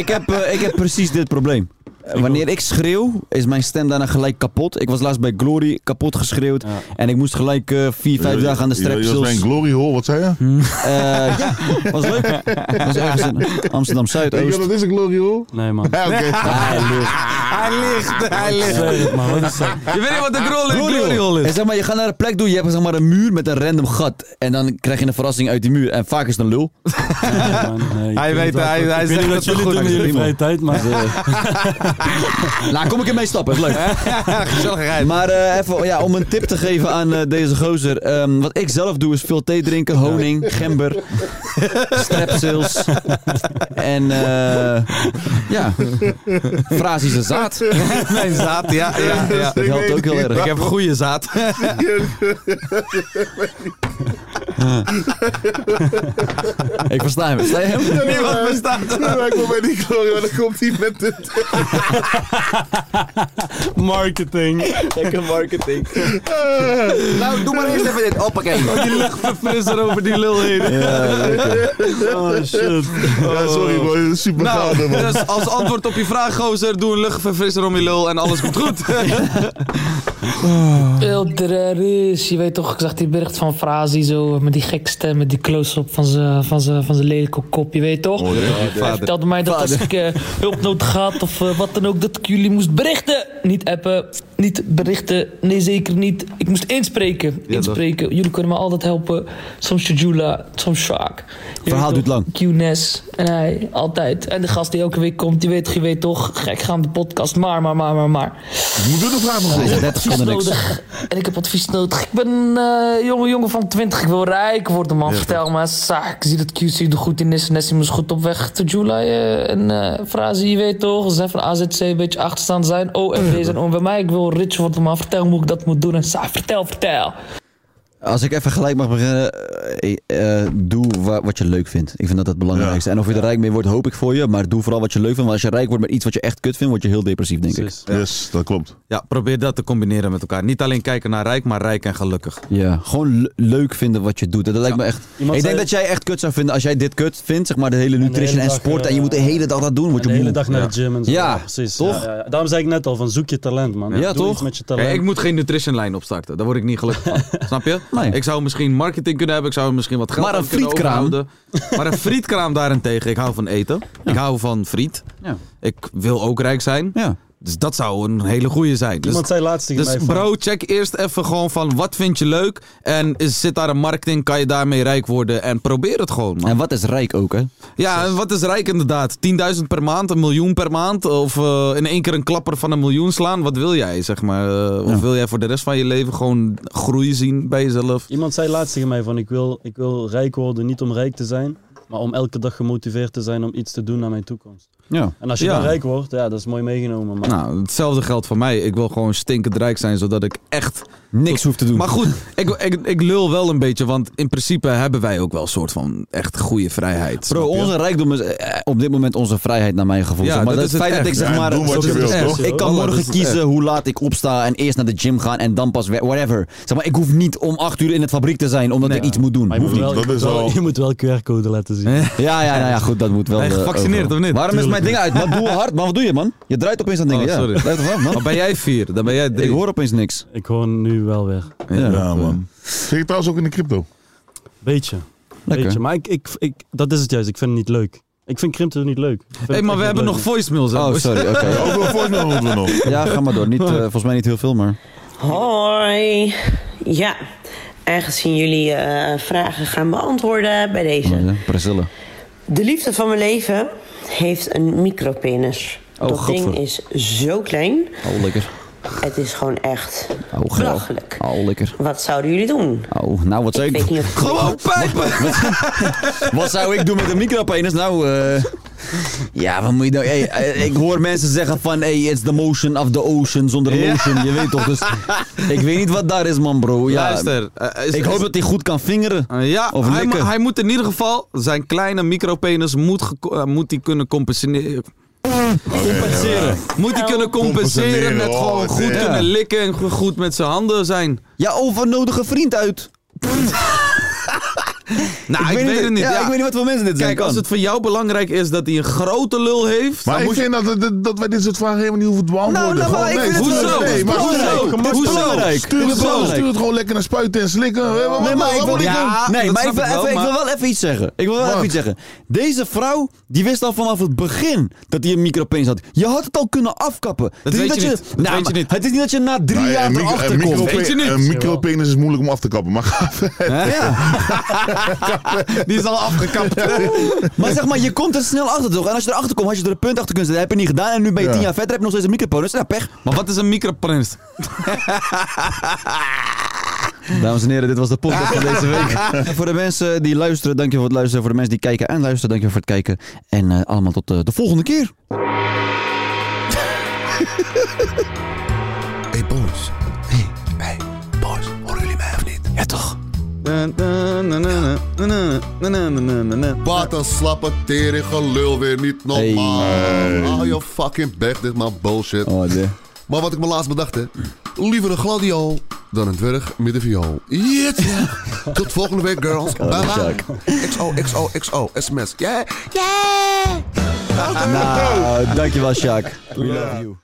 <laughs> ik, heb, eh, ik heb precies dit probleem. Eh, Wanneer ik schreeuw, is mijn stem daarna gelijk kapot. Ik was laatst bij Glory kapot geschreeuwd.
Ja.
En ik moest gelijk eh, vier, vijf dagen aan de
Je- Je was bij een
strepsils.
glory hole, wat zei je?
Eh, ja, was leuk. Was ergens in Amsterdam
Weet je
Zuidoost.
wat dat is, een glory hole?
Nee man.
Ja, oké.
Hij ligt, hij
<laughs>
ligt.
Zeg het, man, wat
<laughs>
is dat?
Je weet niet wat de Glory, glory Hole
En
is.
zeg maar, je gaat naar een plek toe, je hebt zeg maar, een muur met een random gat. En dan krijg je een verrassing uit die muur. En vaak is het een lul.
Ja, man, nee, ik
Hij
weet
weet-
dat
hij-
ook.
hij
Ik weet
zegt
niet
het
wat jullie
goed,
doen in
maar
jullie
ik
vrije tijd,
<laughs>
maar
Nou, kom ik ermee stappen,
<laughs>
is leuk.
Gezelligheid.
Maar eh, even ja, om een tip te geven aan eh, deze gozer. Ehm, wat ik zelf doe is veel thee drinken, honing,
<laughs>
gember, strepsils. En eh, ja, frazische
<laughs>
zaad.
Mijn zaad, ja, ja, ja.
Dat helpt ook heel
Ik
erg.
heb goede
<laughs>
zaad.
Ik versta hem. Versta je hem?
Niemand bestaat.
Ja, ik kom bij die glory hole, dan komt hij met dit.
<laughs> marketing.
Lekker marketing. Nou, doe maar eerst even dit. Hoppakee.
Die luchtverfrisser over die lul heen.
Oh shit.
Ja, sorry bro, super gaaf.
Nou,
man.
dus als antwoord op je vraag, gozer, doe een luchtverfrisser om je lul en alles komt goed.
<laughs>
Ulteris, je weet toch, ik zag die bericht van Frazi zo met die gek stem, met die close-up van zijn van zijn- van zijn lelijke kop, je weet
Oh,
toch? Hij
Vader.
vertelde mij dat als ik eh, hulpnood gaat of eh, wat dan ook, dat ik jullie moest berichten. Niet appen, niet berichten. Nee, zeker niet. Ik moest inspreken.
Ja,
inspreken. Jullie kunnen me altijd helpen. Soms Jujula, soms Sjaak. Je
Verhaal
weet
duurt lang.
toch, Q-Nes en hij, altijd. En de gast die elke week komt, die weet, je weet toch, gek gaan de podcast, maar, maar, maar, maar, maar.
Je moet nog vragen,
Ik heb
30
advies
seconden niks.
nodig. En ik heb advies nodig. Ik ben een eh, jonge jongen van 20, ik wil rijk worden, man.
Ja,
Vertel me, sa, ik zie dat QC er goed in is. Nessim is goed op weg to July. eh, en eh Frazi, je weet toch, ze zijn van AZC een beetje achterstand zijn. OMV zijn om bij mij, ik wil rich worden, man. Vertel me hoe ik dat moet doen. En sa, vertel, vertel.
Als ik even gelijk mag beginnen, eh, eh, doe wa- wat je leuk vindt. Ik vind dat het belangrijkste. En of je er rijk mee wordt, hoop ik voor je. Maar doe vooral wat je leuk vindt. Want als je rijk wordt met iets wat je echt kut vindt, word je heel depressief, denk ik.
Ja. Yes, dat klopt.
Ja, probeer dat te combineren met elkaar. Niet alleen kijken naar rijk, maar rijk en gelukkig.
Ja, gewoon le- leuk vinden wat je doet. Dat lijkt me echt...
Iemand
ik denk
zei-
dat jij echt kut zou vinden als jij dit kut vindt. Zeg maar de hele nutrition
hele
en
dag,
sport.
eh,
en je moet de hele dag dat doen. Word je
de hele
moe.
dag naar de gym en zo.
Ja,
precies.
toch?
Ja, ja. Daarom zei ik net al, van zoek je talent, man.
Ja,
Doe iets
toch?
met je talent.
Kijk, ik moet geen nutritionlijn opstarten. Daar word ik niet gelukkig
<laughs>
van. Snap je?
Nee.
Ik zou misschien marketing kunnen hebben. Ik zou misschien wat geld
Maar een
aan kunnen
frietkraam?
overhouden. Maar een frietkraam daarentegen. Ik hou van eten. Ik hou van friet.
Ja.
Ik wil ook rijk zijn. Dus dat zou een hele goeie zijn. Dus,
Iemand zei laatst tegen
dus
mij van-
bro, check eerst even gewoon van wat vind je leuk. En is, zit daar een marketing? Kan je daarmee rijk worden? En probeer het gewoon, man.
En wat is rijk ook, hè?
Ja, en wat is rijk inderdaad? 10.000 per maand, een miljoen per maand? Of eh, in één keer een klapper van een miljoen slaan? Wat wil jij, zeg maar? Eh, of wil jij voor de rest van je leven gewoon groei zien bij jezelf?
Iemand zei laatst tegen mij van ik wil, ik wil rijk worden, niet om rijk te zijn, maar om elke dag gemotiveerd te zijn om iets te doen naar mijn toekomst.
Ja.
En als je
Ja.
dan rijk wordt, ja, dat is mooi meegenomen. Maar
Nou, hetzelfde geldt voor mij. Ik wil gewoon stinkend rijk zijn, zodat ik echt...
Niks hoef te doen.
Maar goed, ik, ik, ik lul wel een beetje, want in principe hebben wij ook wel een soort van echt goede vrijheid.
Bro,
snap je?
onze rijkdom is eh, op dit moment onze vrijheid naar mijn gevoel.
Ja,
Zeg maar
dat
dat,
is
het
het
feit dat
echt.
ik zeg
Ja,
maar,
doe wat
dat
je
is
wilt,
het echt.
toch?
ik kan
Wallah, dat
morgen
is het
kiezen
echt.
hoe laat ik opsta en eerst naar de gym gaan en dan pas we- whatever. Zeg maar, ik hoef niet om acht uur in het fabriek te zijn omdat ik iets moet doen.
Maar je,
Hoeft niet.
moet wel, je, moet wel, je moet wel QR-code laten zien.
Ja, ja, nou ja, goed, dat moet wel.
Ben je
eh,
gevaccineerd
overal.
of niet?
Waarom is
Tuurlijk.
mijn ding uit? Wat doe je hard, man? Wat doe je, man? Je draait opeens aan dingen,
Oh,
ja.
sorry.
Blijf ervan, man.
Maar ben jij vier, dan ben jij drie.
Ik hoor opeens niks.
Ik hoor nu wel weer.
Ja, man. Zit je trouwens ook in de crypto?
Beetje.
Lekker.
Beetje. Maar ik, ik, ik, dat is het juist, ik vind het niet leuk. Ik vind crypto niet leuk.
Hé, maar we hebben nog voicemails. hè,
Oh,
boys.
sorry, oké.
<laughs> nou,
Ja, ga maar door.
<laughs>
Niet, eh, volgens mij niet heel veel, maar...
Hoi. Ja, aangezien jullie eh, vragen gaan beantwoorden bij deze.
Brazille.
De liefde van mijn leven heeft een micropenis.
Oh,
dat ding
godver.
is zo klein.
Oh, lekker.
Het is gewoon echt
Oh, graag.
belachelijk.
Oh, lekker.
Wat zouden jullie doen?
Oh, nou, wat zou ik...
weet niet of- Gewoon
pijpen!
Wat zou ik doen met een micropenis? Nou, eh, ja, wat moet je nou... Hey, eh, ik hoor mensen zeggen van, hey, it's the motion of the ocean zonder
Ja.
lotion. Je weet toch, dus ik weet niet wat daar is, man, bro. Ja,
Luister, eh, is-
ik hoop
is-
dat hij goed kan vingeren.
Uh, ja,
Of
hij,
likken.
mo- hij moet in ieder geval zijn kleine micropenis moet, geco- eh, moet die kunnen compenseren. compenseren. Moet hij kunnen compenseren
Compenseren,
met
oh,
gewoon
wat
goed
erg.
kunnen likken en go- goed met zijn handen zijn.
Ja, of een nodige vriend uit.
Nou, ik, weet, het niet.
ja, ik weet niet wat voor mensen dit zijn,
Kijk, als
kan.
het voor jou belangrijk is dat hij een grote lul heeft.
Maar
dan
ik
moet je-
vind dat, dat, dat wij dit soort vragen helemaal niet hoeven te beantwoorden.
nou, maar
Gewoon,
ik
nee,
vind het
stuur
wel-
Nee, maar
Dit is belangrijk.
hoezo?
Dit is
Hoezo?
belangrijk.
Stuur
Dit
het
is
gewoon-
belangrijk.
stuur het gewoon lekker naar spuiten en slikken. Wat- wat-
Nee,
wat-
maar ik
wat
wil,
moet ik doen?
nee, maar ik, wil
snap ik
even,
wel,
ik wil
maar-
wel even iets zeggen. Ik wil wel
Wat?
even iets zeggen. Deze vrouw, die wist al vanaf het begin dat hij een micropeens had. Je had het al kunnen afkappen. Het is
weet
niet
je
dat
niet. Dat
Nou,
weet je
maar Het is niet dat je na drie
Nou ja,
jaar
een micro-
erachter
een
komt.
micrope- Een micropenis is moeilijk om af te kappen, maar ga verder.
<laughs> Die is al afgekapt.
maar zeg maar, je komt er snel achter toch? En als je erachter komt, had je er een punt achter kunnen zetten. Heb je niet gedaan. En nu ben je
Ja.
tien jaar verder, heb je nog steeds een micropenis. Nou, pech.
Maar wat is een
<laughs>
micropenis?
Dames en heren, dit was de podcast van deze
<laughs>
week. En voor de mensen die luisteren, dankjewel voor het luisteren. Voor de mensen die kijken en luisteren, dankjewel voor het kijken. En eh, allemaal tot eh, de volgende keer.
Hey boys. Hey, hey boys. Horen jullie mij of niet? Ja toch. Wat een slappe tering gelul weer niet normaal.
Hey.
Hou je fucking bek, dit is maar bullshit. Maar wat ik me laatst bedacht hè. Liever een gladiool dan een dwerg met een viool. Yes.
<laughs>
Tot volgende week girls. Bye bye. XO, XO, XO, sms. Yeah, yeah.
Nou, dankjewel Sjaak. We love you.